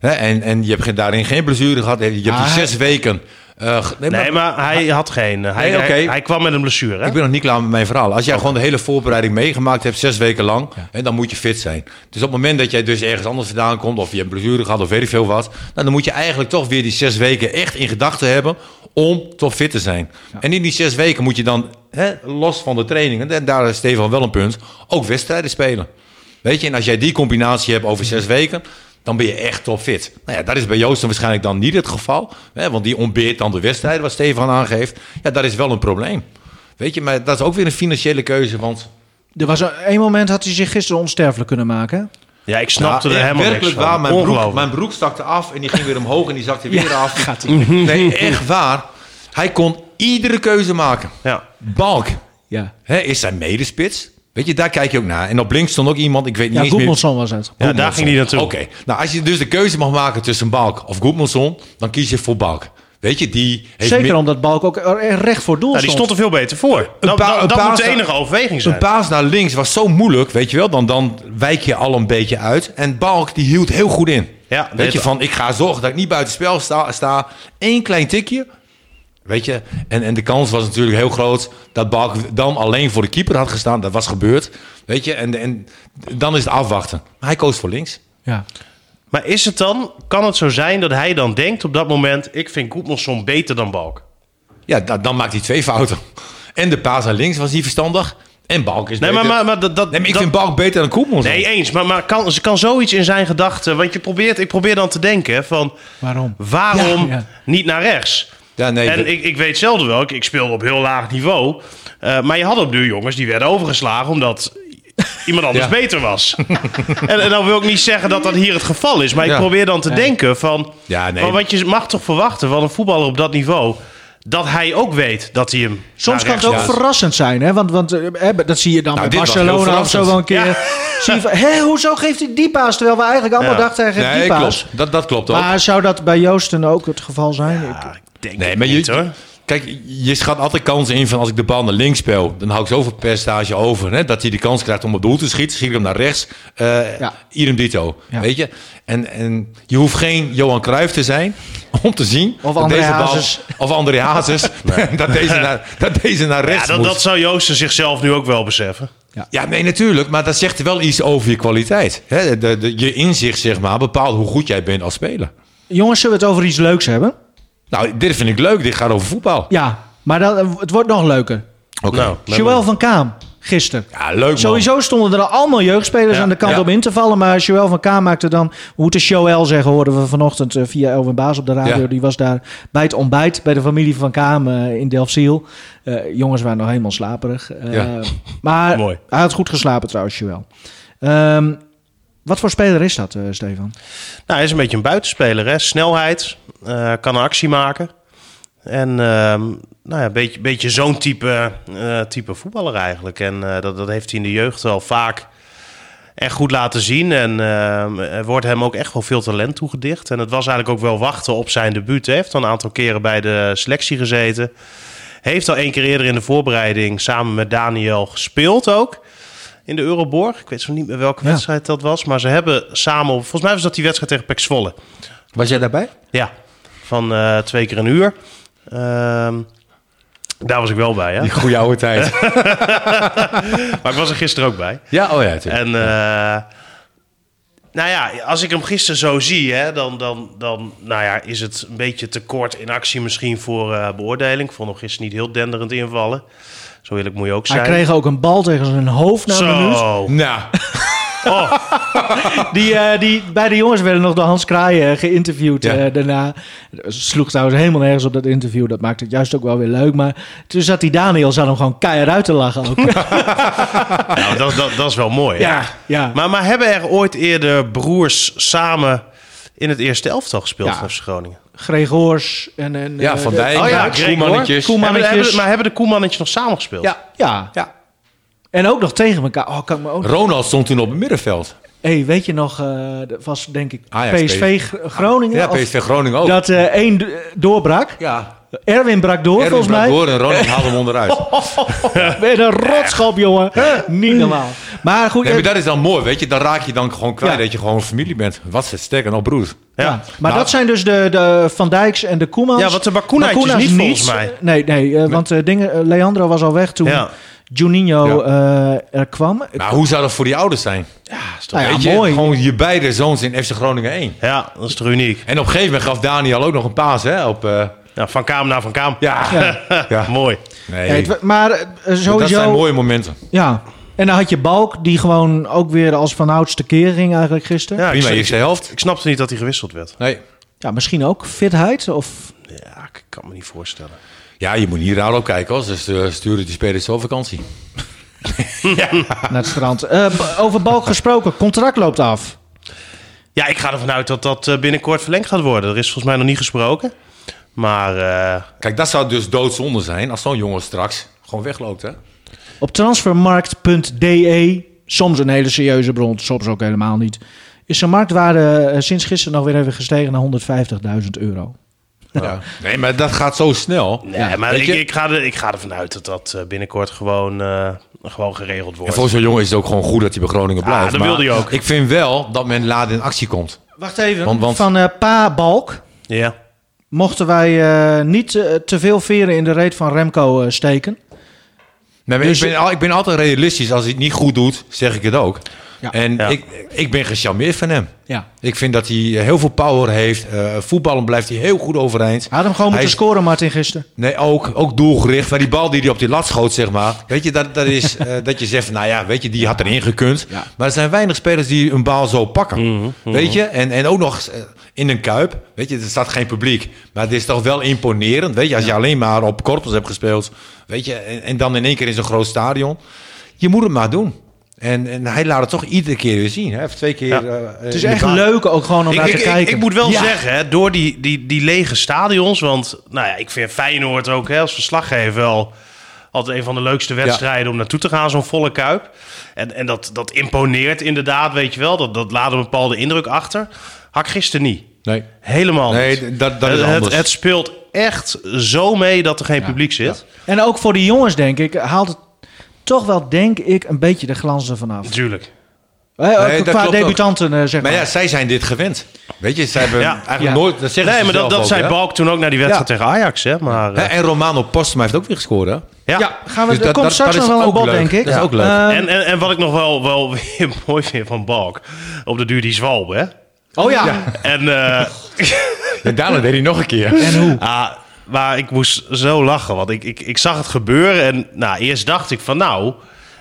S3: Hè, en, en je hebt geen- daarin geen blessure gehad... je hebt die
S2: Ah, hij-
S3: zes weken... eh, ge-
S4: Nee, maar hij had geen... eh, Hij,
S3: Nee, oké.
S4: hij, hij kwam met een blessure, hè?
S3: Ik ben nog niet klaar met mijn verhaal. Als jij gewoon de hele voorbereiding meegemaakt hebt, zes weken lang, hè, dan moet je fit zijn. Dus op het moment dat jij dus ergens anders vandaan komt, of je hebt blessure gehad, of weet ik veel wat, nou, dan moet je eigenlijk toch weer die zes weken echt in gedachten hebben om toch fit te zijn. En in die zes weken moet je dan, hè, los van de trainingen, en daar is Stefan wel een punt, ook wedstrijden spelen. Weet je, en als jij die combinatie hebt over zes weken, dan ben je echt topfit. Nou ja, dat is bij Joosten waarschijnlijk dan niet het geval. Hè, want die ontbeert dan de wedstrijden, wat Stefan aangeeft. Ja, dat is wel een probleem. Weet je, maar dat is ook weer een financiële keuze. Want
S2: Er was een één moment had hij zich gisteren onsterfelijk kunnen maken. hè?
S4: Ja, ik snapte
S3: Ja,
S4: er
S3: echt
S4: helemaal niks
S3: werkelijk
S4: van.
S3: waar, mijn broek,
S4: Ongelooflijk.
S3: mijn broek stakte af en die ging weer omhoog en die zakte weer af. nee, echt waar. Hij kon iedere keuze maken.
S4: Ja.
S3: Balk
S2: Ja,
S3: hè, is zijn medespits. Weet je, daar kijk je ook naar. En op links stond ook iemand, ik weet niet
S2: ja
S3: eens meer...
S2: Goedmanson was het.
S4: Ja, daar ging hij naartoe.
S3: Oké, nou als je dus de keuze mag maken tussen Balk of Goedmanson, dan kies je voor Balk. Weet je, die heeft
S2: Zeker
S3: meer-
S2: omdat Balk ook er er recht voor doel
S4: Nou, die stond er veel beter voor. dat
S3: paar-
S4: dat-
S3: een
S4: dat
S3: paar
S4: moet de
S3: sta-
S4: enige overweging zijn.
S3: Een paas naar links was zo moeilijk, weet je wel. Dan, dan wijk je al een beetje uit. En Balk die hield heel goed in.
S4: Ja,
S3: weet
S4: dit-
S3: je, van ik ga zorgen dat ik niet buiten spel sta. sta. Eén klein tikje. Weet je, en, en de kans was natuurlijk heel groot dat Balkendam alleen voor de keeper had gestaan. Dat was gebeurd. Weet je, en, en dan is het afwachten. Maar hij koos voor links.
S2: Ja.
S4: Maar is het dan, kan het zo zijn dat hij dan denkt op dat moment... ik vind Goedmanson beter dan Balk?
S3: Ja, da- dan maakt hij twee fouten. En de paas naar links was niet verstandig. En Balk is
S4: Nee,
S3: beter.
S4: maar, maar, maar dat... dat
S3: nee, maar ik
S4: dat-
S3: vind Balk beter dan Koeman.
S4: Nee, eens. Maar, maar kan, kan zoiets in zijn gedachten... Want je probeert, ik probeer dan te denken hè, van...
S2: Waarom?
S4: Waarom
S2: Ja, ja.
S4: niet naar rechts?
S3: Ja, nee,
S4: en
S3: dat-
S4: ik, ik weet zelden wel, ik, ik speelde op heel laag niveau. eh, maar je had op duur jongens die werden overgeslagen omdat iemand anders
S3: Ja.
S4: beter was. en, en dan wil ik niet zeggen dat dat hier het geval is. Maar ik
S3: Ja.
S4: probeer dan te denken van,
S3: Ja, nee.
S4: van... Want je mag toch verwachten van een voetballer op dat niveau... dat hij ook weet dat hij hem
S2: Soms
S4: naar
S2: kan het
S4: rechts
S2: ook
S4: laat.
S2: verrassend zijn, hè? Want, want eh, eh, dat zie je dan
S3: Nou,
S2: bij
S3: dit was heel
S2: Barcelona of zo wel een keer.
S4: Ja.
S2: Zie je van, hé, hoezo geeft hij die paas? Terwijl we eigenlijk allemaal
S4: Ja.
S2: dachten hij geeft
S3: Nee,
S2: die paas.
S3: klopt. Dat, dat klopt ook.
S2: Maar zou dat bij Joosten ook het geval zijn? Ik-
S4: Ja, ik denk
S3: Nee,
S4: het
S3: maar
S4: niet,
S3: je,
S4: hoor.
S3: kijk, je schat altijd kansen in van als ik de bal naar links speel. Dan hou ik zoveel percentage over. Hè, dat hij de kans krijgt om op doel te schieten. Schiet ik hem naar rechts. eh
S2: Ja.
S3: Idem dito.
S2: Ja.
S3: Weet je? En, en je hoeft geen Johan Cruijff te zijn om te zien...
S2: Of
S3: dat
S2: André
S3: deze bal-
S2: Hazes.
S3: Of André Hazes. dat, deze naar, dat deze naar rechts
S4: Ja, dat,
S3: moet.
S4: dat zou Joosten zichzelf nu ook wel beseffen.
S3: Ja, nee, natuurlijk. Maar dat zegt wel iets over je kwaliteit. Hè, de, de, je inzicht, zeg maar, bepaalt hoe goed jij bent als speler.
S2: Jongens, zullen we het over iets leuks hebben?
S3: Nou, dit vind ik leuk. Dit gaat over voetbal.
S2: Ja, maar dat, het wordt nog leuker.
S3: Oké.
S4: Nou,
S2: Joël van Kaam, gisteren.
S3: Ja, leuk man.
S2: Sowieso stonden er allemaal jeugdspelers
S4: Ja,
S2: aan de kant
S3: ja.
S2: om in te vallen. Maar Joël van Kaam maakte dan, hoe te Joël zeggen, hoorden we vanochtend eh, via Elwin Baas op de radio.
S3: Ja.
S2: Die was daar bij het ontbijt bij de familie van Kaam eh, in Delfziel. Eh, jongens waren nog helemaal slaperig. Eh,
S3: Ja.
S2: Maar
S4: Mooi.
S2: hij had goed geslapen trouwens, Joël. Ehm, wat voor speler is dat, eh, Stefan?
S4: Nou, hij is een beetje een buitenspeler. Hè? Snelheid, eh, kan een actie maken. En ehm, nou ja, een beetje, beetje zo'n type, eh, type voetballer eigenlijk. En eh, dat, dat heeft hij in de jeugd al vaak echt goed laten zien. En ehm, er wordt hem ook echt wel veel talent toegedicht. En het was eigenlijk ook wel wachten op zijn debuut. Hij heeft al een aantal keren bij de selectie gezeten. Heeft al één keer eerder in de voorbereiding samen met Daniel gespeeld ook in de Euroborg. Ik weet zo niet meer welke
S2: Ja.
S4: wedstrijd dat was. Maar ze hebben samen, op- volgens mij was dat die wedstrijd tegen Pek Zwolle.
S3: Was jij daarbij?
S4: Ja, van eh, twee keer een uur. Ehm, daar was ik wel bij, hè?
S3: Die goede oude tijd.
S4: Maar ik was er gisteren ook bij.
S3: ja, oh ja, tuurlijk.
S4: En eh, nou ja, als ik hem gisteren zo zie, hè, dan, dan, dan nou ja, is het een beetje tekort in actie misschien voor eh, beoordeling. Ik vond hem gisteren niet heel denderend invallen. Zo eerlijk moet je ook zijn.
S2: Hij kreeg ook een bal tegen zijn hoofd na een minuut.
S4: zo.
S3: Nou,
S4: Oh.
S2: Die, eh, die, beide jongens werden nog door Hans Kraaien geïnterviewd
S3: Ja.
S2: eh, daarna. Sloeg trouwens helemaal nergens op dat interview. Dat maakt het juist ook wel weer leuk. Maar toen zat die Daniel, zat hem gewoon keihard uit te lachen ook. ja,
S4: nou, dat, dat, dat is wel mooi. hè?
S2: ja. ja.
S4: Maar, maar hebben er ooit eerder broers samen in het eerste elftal gespeeld
S2: Ja.
S4: van FC Groningen?
S2: Gregors en... en
S3: ja,
S2: eh,
S3: Van
S2: de-
S3: Dijk,
S4: oh ja,
S3: Maak,
S4: Greg,
S3: Koemannetjes.
S2: hoor. Koeman-
S4: Hebben,
S2: Koemannetjes.
S4: hebben- maar hebben de Koemannetjes nog samen gespeeld?
S3: Ja.
S2: Ja.
S3: Ja.
S2: En ook nog tegen elkaar. Oh, kan ik me ook...
S3: Ronald stond toen op het middenveld.
S2: hey, weet je nog, eh, dat was denk ik
S3: Ajax,
S2: PSV Gr- Groningen?
S3: Ja,
S2: of-
S3: PSV Groningen ook.
S2: Dat eh één do- doorbrak.
S3: ja.
S2: Erwin brak door,
S3: Erwin
S2: volgens
S3: brak
S2: mij. Oh,
S3: door en Ronald haalde hem onderuit.
S2: Weer een rotschap, jongen. Niet normaal. Maar goed,
S3: Nee,
S2: eh,
S3: maar dat is dan mooi, weet je. Dan raak je dan gewoon kwijt
S2: Ja.
S3: dat je gewoon familie bent. Wat is het sterker nog broer.
S2: Ja.
S4: Ja.
S2: maar
S3: Nou.
S2: dat zijn dus de, de Van Dijks en de Koemans.
S4: Ja, want de Bakunaitjes
S2: Bakuna's
S4: niet, volgens mij.
S2: Nee, nee, eh, want eh, dingen, eh, Leandro was al weg toen
S4: Ja.
S2: Juninho eh, er kwam.
S3: Maar hoe zou dat voor die ouders zijn?
S2: Nou ja,
S3: weet je,
S2: mooi.
S3: gewoon je beide zoons in FC Groningen 1.
S4: Ja, dat is toch uniek?
S3: En op een gegeven moment gaf Daniel ook nog een paas, hè? Op, eh,
S4: Ja, van Kaam naar Van Kaam.
S3: ja. ja.
S4: Mooi.
S3: Nee,
S2: Ja, het wa- maar eh, sowieso...
S3: dat zijn mooie momenten.
S2: Ja. En dan had je Balk, die gewoon ook weer als van oudste keer ging eigenlijk gisteren. Ja,
S4: Ja, ik,
S3: Prima,
S4: snap-
S3: eerste helft.
S4: ik snapte niet dat hij gewisseld werd.
S3: Nee.
S2: misschien ook fitheid of...
S4: Ja, ik kan me niet voorstellen.
S3: Ja, je moet hier raar op kijken, hoor. Dus eh, sturen die spelers zo op vakantie.
S2: naar het strand. Eh, b- over Balk gesproken, contract loopt af.
S4: Ja, ik ga ervan uit dat dat eh, binnenkort verlengd gaat worden. Er is volgens mij nog niet gesproken. Maar eh,
S3: Kijk, dat zou dus doodzonde zijn als zo'n jongen straks gewoon wegloopt, hè?
S2: Op transfermarkt.de, E, soms een hele serieuze bron, soms ook helemaal niet, is zijn marktwaarde eh, sinds gisteren nog weer even gestegen naar 150.000 euro.
S3: Ja. Nee, maar dat gaat zo snel.
S4: nee, maar
S3: weet
S4: ik,
S3: je-
S4: ik, ga er, ik ga ervan uit dat dat eh, binnenkort gewoon, eh, gewoon geregeld
S3: En
S4: wordt.
S3: voor zo'n jongen is het ook gewoon goed dat hij bij Groningen blijft.
S4: Ah, dat
S3: maar
S4: wilde hij ook.
S3: Ik vind wel dat men laat in actie komt.
S2: Wacht even.
S3: Want- want-
S2: Van eh Pa Balk,
S4: Ja.
S2: mochten wij eh, niet eh, te veel veren in de reet van Remco eh, steken.
S3: Nee, maar
S2: Dus-
S3: ik, ben, al- ik ben altijd realistisch. Als hij het niet goed doet, zeg ik het ook.
S2: Ja.
S3: En
S4: Ja.
S3: Ik, ik ben gecharmeerd van hem.
S2: Ja.
S3: Ik vind dat hij heel veel power heeft. Eh voetballen blijft hij heel goed overeind.
S2: Had hem gewoon
S3: Hij
S2: moeten
S3: is- Eh,
S2: scoren, Martin, gisteren.
S3: Nee, ook, ook doelgericht. Maar die bal die hij op die lat schoot, zeg maar. Weet je, dat, dat is eh, dat je zegt, van, nou ja, weet je, die had erin gekund.
S2: Ja.
S3: Maar er zijn weinig spelers die een bal zo pakken. Weet je, en, en ook nog eh, in een kuip. Weet je, er staat geen publiek. Maar het is toch wel imponerend. Weet je, als je alleen maar op korpels hebt gespeeld. Weet je, en, en dan in één keer in zo'n groot stadion. Je moet het maar doen. En, en hij laat het toch iedere keer weer zien. Hè? Of twee keer.
S4: Ja.
S3: eh,
S2: Het is
S3: in de
S2: echt
S3: baan.
S2: leuk ook gewoon om
S4: Ik,
S2: naar te
S4: ik, ik,
S2: kijken.
S4: ik moet wel
S3: Ja.
S4: zeggen, hè, door die, die, die lege stadions. Want nou ja, ik vind Feyenoord ook hè, als verslaggever wel altijd een van de leukste wedstrijden om naartoe te gaan, zo'n volle kuip. En, en dat, dat imponeert inderdaad, weet je wel. Dat, dat laat een bepaalde indruk achter. Hak gisteren niet.
S3: Nee.
S4: Helemaal
S3: Nee,
S4: niet.
S3: dat- dat is
S4: het,
S3: anders.
S4: Het, het speelt echt zo mee dat er geen publiek zit.
S2: En ook voor die jongens, denk ik, haalt het toch wel, denk ik, een beetje de glans ervan af.
S4: Natuurlijk.
S2: Hè, ook
S3: dat
S2: eh, qua
S3: klopt ook.
S2: debutanten, eh, zeg maar.
S3: Maar ja, zij zijn dit gewend. Weet je, zij hebben
S4: Ja.
S3: eigenlijk
S2: Ja.
S3: nooit... Dat zeggen
S4: Nee,
S3: ze
S4: maar dat,
S3: zelf
S4: dat
S3: ook,
S4: zei
S3: hè?
S4: Balk toen ook naar die wedstrijd
S3: Ja.
S4: tegen Ajax. Hè? Maar,
S3: Hè,
S4: eh,
S3: en Romano Postma heeft ook weer gescoord, hè?
S4: ja.
S2: Ja, gaan we,
S3: Dus
S2: er
S3: dat-
S2: komt
S3: dat-
S2: straks
S3: dat is
S2: nog wel een
S3: ook
S2: bod,
S3: leuk.
S2: denk ik.
S3: Dat is ook leuk.
S2: Ehm,
S4: En, en, en wat ik nog wel, wel weer mooi vind van Balk. Op de duur die zwalb, hè?
S2: oh ja.
S4: En, eh,
S3: En daarna deed hij nog een keer.
S2: En hoe?
S4: ah, maar ik moest zo lachen, want ik, ik, ik zag het gebeuren. En nou, eerst dacht ik van nou,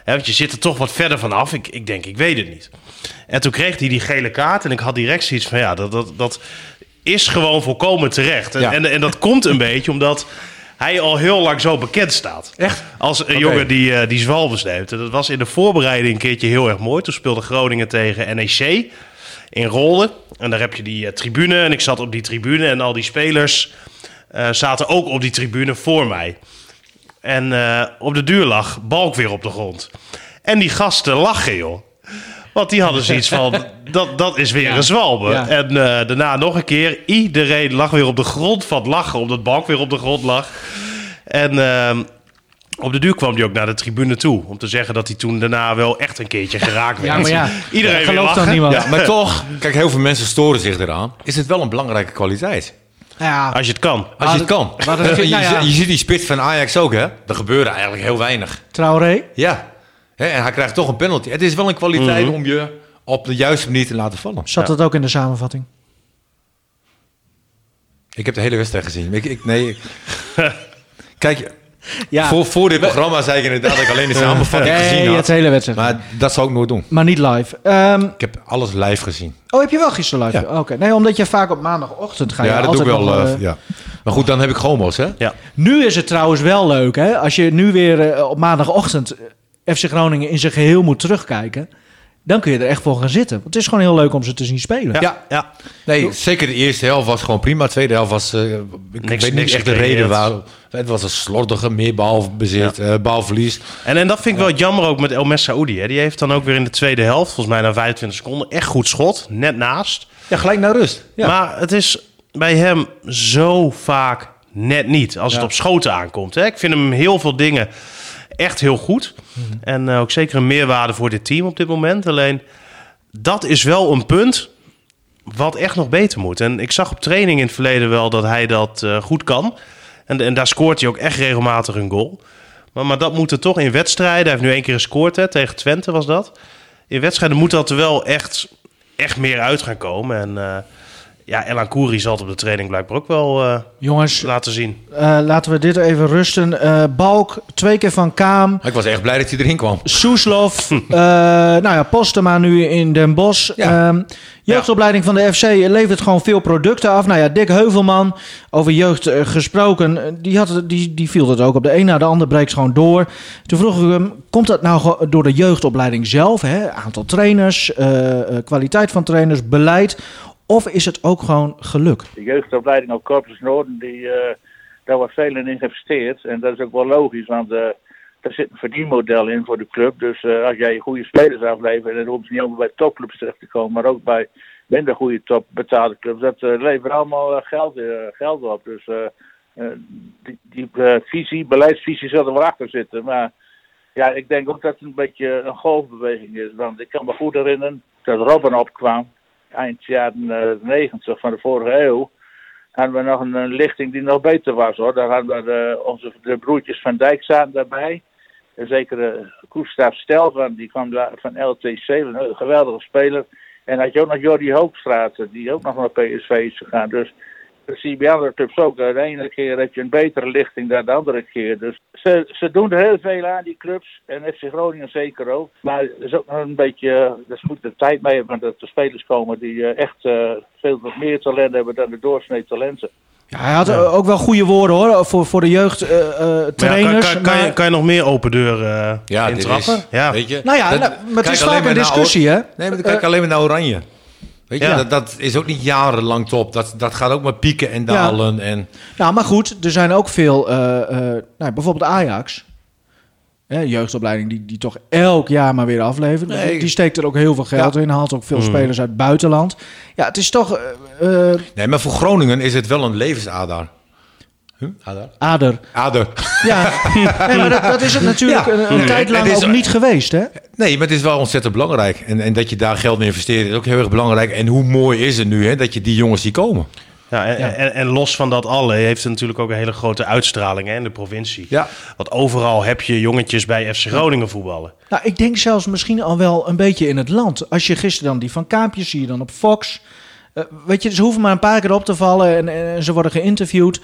S4: hè, want je zit er toch wat verder vanaf. Ik, ik denk, ik weet het niet. En toen kreeg hij die gele kaart en ik had direct zoiets van ja, dat, dat, dat is gewoon volkomen terecht. En,
S3: Ja.
S4: en, en dat komt een beetje omdat hij al heel lang zo bekend staat.
S3: Echt?
S4: Als een jongen die, eh, die zwalbes neemt. En dat was in de voorbereiding een keertje heel erg mooi. Toen speelde Groningen tegen NEC in Rolde. En daar heb je die eh, tribune. En ik zat op die tribune. En al die spelers eh, zaten ook op die tribune voor mij. En eh, op de duur lag Balk weer op de grond. En die gasten lachen, joh. Want die hadden zoiets van, dat, dat is weer een zwalbe.
S2: Ja.
S4: En eh, daarna nog een keer, iedereen lag weer op de grond van het lachen. Omdat Balk weer op de grond lag. En ehm, op de duur kwam hij ook naar de tribune toe. Om te zeggen dat hij toen daarna wel echt een keertje geraakt werd.
S2: Ja, maar ja.
S4: Iedereen
S2: Dat
S4: weer
S2: gelooft
S4: lachen.
S2: dan niemand.
S4: Ja,
S3: Maar toch, kijk, heel veel mensen storen zich eraan. Is het wel een belangrijke kwaliteit?
S2: Ja.
S4: Als je het kan.
S3: Als je het kan.
S2: maar Ah, dat-
S3: je,
S2: nou ja.
S3: zi- je ziet die spits van Ajax ook, hè? Er gebeurde eigenlijk heel weinig.
S2: Traoré.
S3: Ja. Hè, en hij krijgt toch een penalty. Het is wel een kwaliteit om je op de juiste manier te laten vallen.
S2: Zat dat ook in de samenvatting?
S3: Ik heb de hele wedstrijd gezien. Ik, ik, nee. ik- Kijk,
S2: Ja.
S3: voor, voor dit programma zei ik inderdaad dat ik alleen de samenvatting gezien
S2: Nee, het
S3: had.
S2: hele wedstrijd. Maar,
S3: Maar dat zou ik nooit doen.
S2: niet live. Ehm,
S3: Ik heb alles live gezien.
S2: oh, heb je wel gisteren live?
S3: Ja.
S2: Oké. Nee, omdat je vaak op maandagochtend gaat.
S3: Ja, dat doe ik
S2: altijd
S3: wel.
S2: nog,
S3: eh,
S2: eh,
S3: ja. Maar goed, dan heb ik chromo's, hè?
S4: Ja.
S2: Nu is het trouwens wel leuk, hè? Als je nu weer eh, op maandagochtend eh, FC Groningen in zijn geheel moet terugkijken, dan kun je er echt voor gaan zitten. Want het is gewoon heel leuk om ze te zien spelen.
S3: Ja.
S4: ja.
S3: Nee, zeker de eerste helft was gewoon prima. De tweede helft was, eh, ik
S4: Niks-
S3: weet
S4: niks
S3: niet echt de
S4: gecreëerd.
S3: reden waarom. Het was een slordige meerbalbezit, eh balverlies.
S4: En, en dat vind ik wel jammer ook met El Messaoudi. Hè. Die heeft dan ook weer in de tweede helft, volgens mij na 25 seconden, echt goed schot. Net naast.
S3: Ja, gelijk naar rust. Ja.
S4: Maar het is bij hem zo vaak net niet. Als het op schoten aankomt. Hè. Ik vind hem heel veel dingen echt heel goed. En eh, ook zeker een meerwaarde voor dit team op dit moment. Alleen dat is wel een punt wat echt nog beter moet. En ik zag op training in het verleden wel dat hij dat eh, goed kan. En, en daar scoort hij ook echt regelmatig een goal. Maar, maar dat moet er toch in wedstrijden. Hij heeft nu één keer gescoord hè, tegen Twente was dat. In wedstrijden moet dat er wel echt, echt meer uit gaan komen. En eh ja, Elan Koeri zal het op de training blijkbaar ook wel eh,
S2: Jongens,
S4: laten zien.
S2: eh, laten we dit even rusten. Eh, Balk, twee keer van Kaam.
S3: Ik was echt blij dat hij erin kwam.
S2: Soeslof, eh, nou ja, Postema nu in Den Bosch.
S3: Ja.
S2: Ehm, jeugdopleiding van de FC levert gewoon veel producten af. Nou ja, Dick Heuvelman, over jeugd eh, gesproken, eh, die, had, het- die, die viel dat ook op de een na de ander breekt gewoon door. Toen vroeg ik hem, komt dat nou ge- door de jeugdopleiding zelf? Hè? Aantal trainers, eh, eh, kwaliteit van trainers, beleid. Of is het ook gewoon geluk?
S5: de jeugdopleiding op Corpus Noorden, die, eh, daar wordt veel in geïnvesteerd. En dat is ook wel logisch, want eh daar zit een verdienmodel in voor de club. Dus eh, als jij goede spelers aflevert, dan hoeven ze niet allemaal bij topclubs terecht te komen, maar ook bij minder goede topbetaalde clubs. Dat eh, levert allemaal eh, geld, eh, geld op. Dus eh, eh, die, die eh, visie, beleidsvisie zal er wel achter zitten. Maar ja, ik denk ook dat het een beetje een golfbeweging is. Want ik kan me goed herinneren dat Robin opkwam eind jaren eh, 90 van de vorige eeuw. hadden we nog een, een lichting die nog beter was hoor. Daar hadden we eh, onze de broertjes van Dijk zaten daarbij. Een zekere Koestaf Stelvan, die kwam daar van LTC, een geweldige speler. En had je ook nog Jordi Hoopstraat, die ook nog naar PSV is gegaan. Dus dat zie je bij andere clubs ook. De ene keer heb je een betere lichting dan de andere keer. Dus ze, ze doen er heel veel aan, die clubs. En FC Groningen zeker ook. Maar het is ook nog een beetje, eh, daar moet de tijd mee hebben, dat er spelers komen die eh, echt eh, veel wat meer talent hebben dan de doorsnee talenten.
S2: Ja, hij had eh, ook wel goede woorden hoor, voor, voor de eh,
S4: Maar ja,
S2: jeugdtrainers.
S4: kan, kan, kan, je, kan je nog meer open deuren eh
S3: Ja, dit
S4: intrappen?
S3: is,
S4: ja.
S3: Weet je,
S2: Nou ja,
S3: dat-
S2: nou, maar het
S3: kijk
S2: is
S3: alleen
S2: vaak een
S3: maar naar
S2: discussie,
S3: Or-
S2: hè? Eh,
S3: Nee, maar dan kijk ik alleen maar naar Oranje. Weet je,
S4: Ja.
S3: dat, dat is ook niet jarenlang top. Dat, dat gaat ook maar pieken en dalen. En,
S2: Nou, maar goed, er zijn ook veel, eh, eh, nou, bijvoorbeeld Ajax. Hè, jeugdopleiding die, die toch elk jaar maar weer aflevert.
S3: Nee.
S2: Die- Die steekt er ook heel veel geld in. Haalt ook veel spelers uit het buitenland. Ja, het is toch eh, eh,
S3: nee, maar voor Groningen is het wel een levensader. Huh? Ader?
S2: ader.
S3: Ader.
S2: Ja, nee, maar dat, dat is het natuurlijk
S3: Ja.
S2: een, een
S3: Nee,
S2: tijd lang
S3: het is-
S2: ook niet geweest, hè?
S3: Nee, maar het is wel ontzettend belangrijk. En, en dat je daar geld in investeert is ook heel erg belangrijk. En hoe mooi is het nu hè, dat je die jongens die komen.
S4: Ja, en, En, en los van dat alle heeft het natuurlijk ook een hele grote uitstraling hè, in de provincie.
S3: Ja.
S4: Want overal heb je jongetjes bij FC Groningen voetballen.
S2: Nou, ik denk zelfs misschien al wel een beetje in het land. Als je gisteren dan die van Kaapjes zie je dan op Fox. Eh, weet je, ze hoeven maar een paar keer op te vallen en, en, en ze worden geïnterviewd.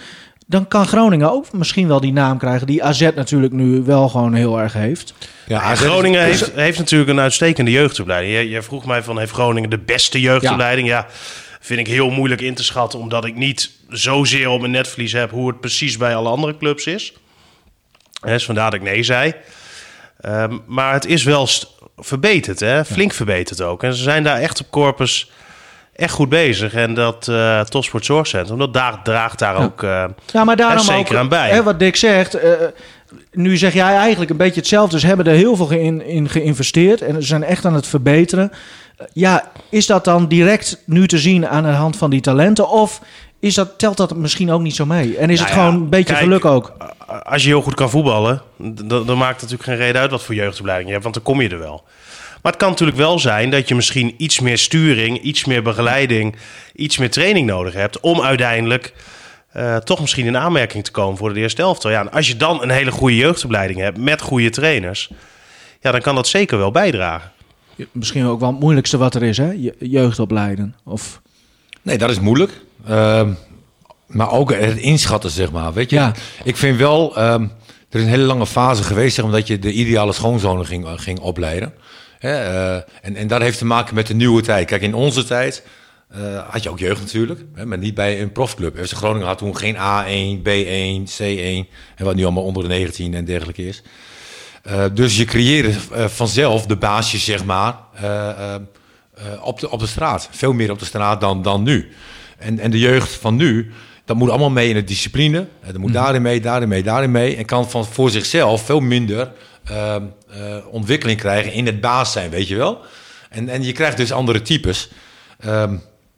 S2: Dan kan Groningen ook misschien wel die naam krijgen die AZ natuurlijk nu wel gewoon heel erg heeft.
S3: Ja,
S4: En
S3: AZ is-
S4: Groningen
S2: dus-
S4: heeft, heeft natuurlijk een uitstekende jeugdopleiding. Jij, jij vroeg mij van, heeft Groningen de beste jeugdopleiding? Ja. vind ik heel moeilijk in te schatten, omdat ik niet zozeer op mijn netvlies heb hoe het precies bij alle andere clubs is. Hè, Dus vandaar dat ik nee zei. Ehm, maar het is wel st- verbeterd, hè? flink verbeterd ook. En ze zijn daar echt op Corpus echt goed bezig. En dat eh Topsport Zorgcentrum, dat daar, draagt daar ook... eh,
S2: Ja, maar daarom
S4: En zeker
S2: ook,
S4: aan bij.
S2: Hè, wat Dick zegt, eh, nu zeg jij eigenlijk een beetje hetzelfde. Ze hebben er heel veel in, in geïnvesteerd en ze zijn echt aan het verbeteren. Eh, ja, is dat dan direct nu te zien aan de hand van die talenten? Of is dat, telt dat misschien ook niet zo mee? En is
S4: Nou
S2: het
S4: ja,
S2: gewoon een beetje
S4: kijk,
S2: geluk ook?
S4: a- Als je heel goed kan voetballen, d- dan dan maakt het natuurlijk geen reden uit wat voor jeugdopleiding je hebt, want dan kom je er wel. Maar het kan natuurlijk wel zijn dat je misschien iets meer sturing, iets meer begeleiding, iets meer training nodig hebt om uiteindelijk eh, toch misschien in aanmerking te komen voor de eerste elftal. Ja, en als je dan een hele goede jeugdopleiding hebt met goede trainers, ja, dan kan dat zeker wel bijdragen.
S2: Misschien ook wel het moeilijkste wat er is, hè? Je- jeugd opleiden. Of,
S3: Nee, dat is moeilijk. Ehm, maar ook het inschatten, zeg maar. Weet je?
S2: Ja.
S3: Ik vind wel, ehm, er is een hele lange fase geweest, zeg, omdat je de ideale schoonzonen ging, eh, ging opleiden. Hè, eh, en, en dat heeft te maken met de nieuwe tijd. Kijk, in onze tijd eh, had je ook jeugd natuurlijk, hè, maar niet bij een profclub. FC Groningen had toen geen A1, B1, C1, en wat nu allemaal onder de 19 en dergelijke is. Eh, dus je creëert eh, vanzelf de baasjes, zeg maar, eh, eh, eh, op, de, op de straat. Veel meer op de straat dan, dan nu. En, en de jeugd van nu, dat moet allemaal mee in de discipline. Eh, dat moet daarin mee, daarin mee, daarin mee. En kan van, voor zichzelf veel minder eh, eh, ontwikkeling krijgen in het baas zijn, weet je wel. En, en je krijgt dus andere types. Ehm,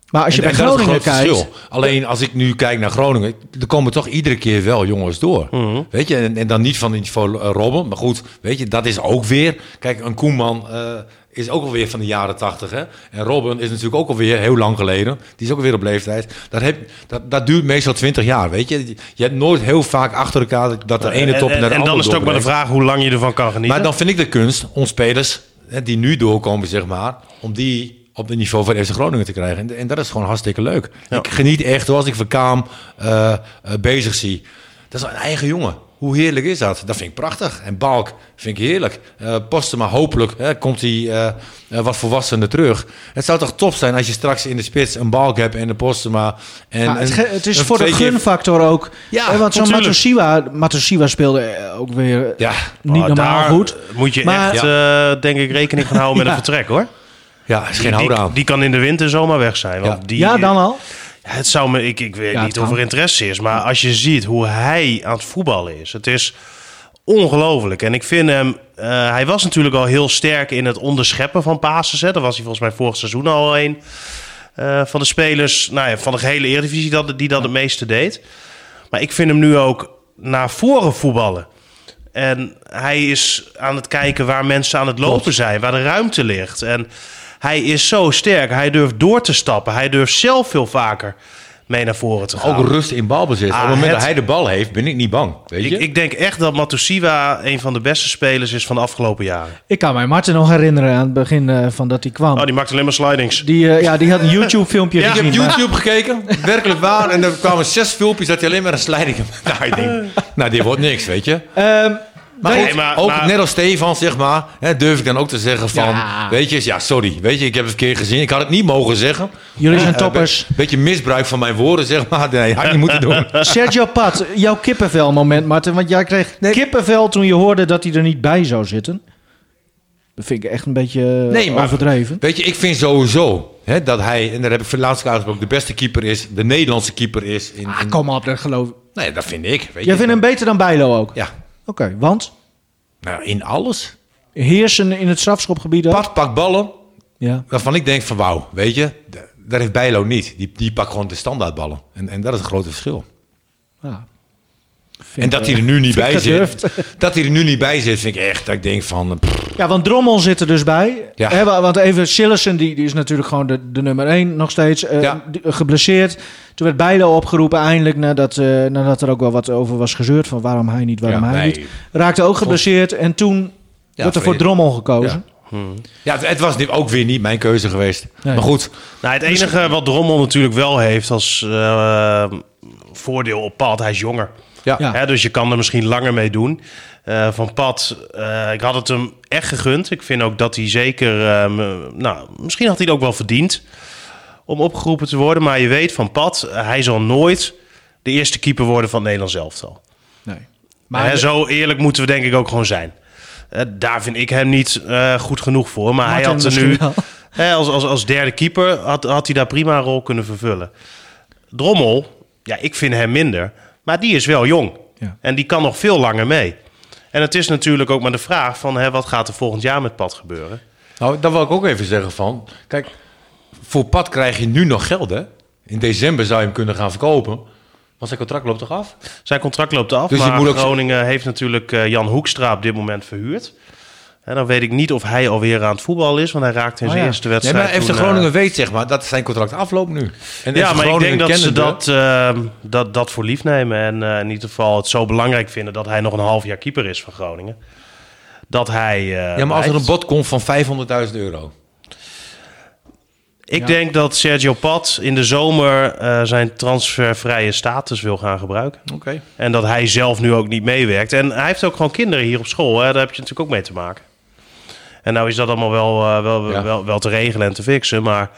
S2: maar als je
S3: en-
S2: bij
S3: en dat is
S2: Groningen
S3: het grote
S2: kijkt...
S3: verschil. Alleen als ik nu kijk naar Groningen, er komen toch iedere keer wel jongens door.
S4: Mhm.
S3: Weet je, en, en dan niet van het niveau eh, Robben. Maar goed, weet je, dat is ook weer. Kijk, een Koeman eh, is ook alweer van de jaren tachtig. En Robben is natuurlijk ook alweer heel lang geleden. Die is ook alweer op leeftijd. Dat, heb, dat, dat duurt meestal twintig jaar, weet je. Je hebt nooit heel vaak achter elkaar dat de ene
S4: En-
S3: top
S4: en,
S3: naar de
S4: en
S3: andere
S4: dan is het ook maar de
S3: doorbreekt.
S4: vraag hoe lang je ervan kan genieten.
S3: Maar dan vind ik de kunst om spelers hè, die nu doorkomen, zeg maar, om die op het niveau van FC Groningen te krijgen. En, en dat is gewoon hartstikke leuk. Ik geniet echt hoor, als ik Van Kaam eh, eh, bezig zie. Dat is een eigen jongen. Hoe heerlijk is dat? Dat vind ik prachtig. En Balk vind ik heerlijk. Eh Postema, hopelijk hè, komt hij eh, eh, wat volwassener terug. Het zou toch top zijn als je straks in de spits een Balk hebt en een Postema. En,
S2: Ja, het,
S3: een-
S2: ge- het is
S3: een
S2: voor de
S3: twee keer-
S2: gunfactor ook.
S3: Ja,
S2: Ja, want zo'n
S3: natuurlijk.
S2: Matosiwa, Matosiwa speelde eh, ook weer eh,
S3: Ja. Oh,
S2: niet
S4: Maar
S2: normaal
S4: Oh, daar
S2: goed.
S4: moet je
S2: Maar-
S4: echt, eh, denk ik, rekening gaan houden met
S2: Ja.
S4: een vertrek hoor.
S3: Ja, is geen
S4: Die-
S3: houden
S4: die,
S3: aan.
S4: die kan in de winter zomaar weg zijn. Want
S3: Ja.
S4: Die,
S2: ja, dan al.
S4: Het zou me, ik, ik weet
S2: Ja, het
S4: niet of
S2: kan.
S4: er interesse is, maar als je ziet hoe hij aan het voetballen is, het is ongelooflijk. En ik vind hem, eh, hij was natuurlijk al heel sterk in het onderscheppen van passes. Hè. Daar was hij volgens mij vorig seizoen al een eh, van de spelers, nou ja, van de gehele Eredivisie dat, die dat het meeste deed. Maar ik vind hem nu ook naar voren voetballen. En hij is aan het kijken waar mensen aan het lopen zijn, waar de ruimte ligt. En hij is zo sterk. Hij durft door te stappen. Hij durft zelf veel vaker mee naar voren te gaan.
S3: Ook rust in balbezit.
S4: Ah,
S3: Op het moment dat
S4: het-
S3: hij de bal heeft, ben ik niet bang. Weet je?
S4: ik, ik denk echt dat Matusiwa een van de beste spelers is van de afgelopen jaren.
S2: Ik kan mij Martin nog herinneren aan het begin eh, van dat hij kwam.
S4: Oh, die maakt alleen maar slidings.
S2: die, eh, ja, die had een YouTube-filmpje
S4: Ja,
S3: Ik
S2: gezien.
S3: heb
S2: maar-
S3: YouTube gekeken, werkelijk waar. En er kwamen zes filmpjes dat hij alleen maar een slijding nou, ik denk, nou, dit wordt niks, weet je.
S2: Ehm,
S3: Maar,
S4: Nee,
S3: goed,
S4: maar-
S3: ook
S4: maar-
S3: net als Stefan, zeg maar, hè, durf ik dan ook te zeggen van...
S2: Ja.
S3: Weet je, ja, sorry, weet je, ik heb het verkeerd gezien. Ik had het niet mogen zeggen.
S2: jullie zijn
S3: Eh,
S2: toppers.
S3: be- beetje misbruik van mijn woorden, zeg maar. Nee, had ik niet moeten doen.
S2: Sergio Pat, jouw kippenvel moment, Martin. Want jij kreeg kippenvel toen je hoorde dat hij er niet bij zou zitten. Dat vind ik echt een beetje eh,
S3: Nee, maar-
S2: overdreven.
S3: Weet je, ik vind sowieso hè, dat hij, en daar heb ik voor laatst ook uitgesproken, de beste keeper is, de Nederlandse keeper is. In, in-
S2: Ah, kom op, dat geloof ik.
S3: nee, dat vind ik. Weet
S2: Jij
S3: je.
S2: vindt hem beter dan Bijlo ook?
S3: Ja,
S2: Oké, want
S3: nou, in alles.
S2: heersen in het strafschopgebied ook?
S3: Pat pak ballen,
S2: Ja.
S3: waarvan ik denk van wauw, weet je, d- daar heeft Bijlo niet. Die, die pakt gewoon de standaardballen. En, en dat is een groot verschil.
S2: ja.
S3: en dat hij er nu niet
S2: Ah. vind ik eh,
S3: bij
S2: gedurfd.
S3: zit. Dat hij er nu niet bij zit, vind ik echt. Dat ik denk van. eh, pff,
S2: Ja, want Drommel zit er dus bij.
S3: Ja.
S2: Hè, wa- want even Sillessen, die, die is natuurlijk gewoon de, de nummer één nog steeds. eh,
S3: Ja.
S2: die- eh, geblesseerd. Toen werd Bijlo opgeroepen eindelijk, nadat, eh, nadat er ook wel wat over was gezeurd. Van waarom hij niet, waarom
S3: Ja,
S2: hij
S3: nee.
S2: niet. Raakte ook geblesseerd en toen werd er voor
S3: vrede.
S2: Drommel gekozen.
S3: ja, het, het was dit ook weer niet mijn keuze geweest.
S2: Nee.
S3: Maar goed,
S4: Nou, het enige wat Drommel natuurlijk wel heeft als eh, voordeel op pad, hij is jonger.
S3: ja.
S2: Ja.
S4: Hè, dus je kan er misschien langer mee doen. Eh, van Pat, eh, ik had het hem echt gegund. Ik vind ook dat hij zeker, eh, m- nou, misschien had hij het ook wel verdiend om opgeroepen te worden. Maar je weet van Pat, eh, hij zal nooit de eerste keeper worden van het Nederlands elftal.
S2: Nee.
S4: Maar
S2: Maar
S4: zo eerlijk moeten we denk ik ook gewoon zijn. Eh, daar vind ik hem niet eh, goed genoeg voor. Maar hij
S2: Martin
S4: had er
S2: misschien
S4: nu,
S2: wel.
S4: hè, als, als, als derde keeper, had, had hij daar prima een rol kunnen vervullen. Drommel, ja, ik vind hem minder. Maar die is wel jong.
S2: Ja.
S4: En die kan nog veel langer mee. En het is natuurlijk ook maar de vraag van... Hè, wat gaat er volgend jaar met Pat gebeuren?
S3: Nou, daar wil ik ook even zeggen van. Kijk, voor pad krijg je nu nog geld, hè? In december zou je hem kunnen gaan verkopen. Want zijn contract loopt toch af?
S4: Zijn contract loopt af,
S3: Dus je
S4: maar
S3: moet ook-
S4: Groningen heeft natuurlijk eh, Jan Hoekstra op dit moment verhuurd. En dan weet ik niet of hij alweer aan het voetbal is... want hij raakte in
S2: Oh
S4: zijn
S2: ja.
S4: eerste
S3: Nee,
S4: wedstrijd...
S3: maar FC
S4: toen, eh,
S3: Groningen weet zeg maar dat zijn contract afloopt nu. En
S4: ja,
S3: FC
S4: maar ik
S3: Groningen
S4: denk dat ze
S3: kennende-
S4: dat, ehm, dat, dat voor lief nemen. En eh, in ieder geval het zo belangrijk vinden dat hij nog een half jaar keeper is van Groningen. Dat hij. eh,
S3: Ja, maar als er
S4: blijft.
S3: een bod komt van 500.000 euro.
S4: Ik denk dat Sergio Pat in de zomer eh, zijn transfervrije status wil gaan gebruiken.
S3: Oké.
S4: En dat hij zelf nu ook niet meewerkt. En hij heeft ook gewoon kinderen hier op school. Hè? Daar heb je natuurlijk ook mee te maken. En nou is dat allemaal wel, eh, wel,
S3: Ja.
S4: wel, wel te regelen en te fixen. Maar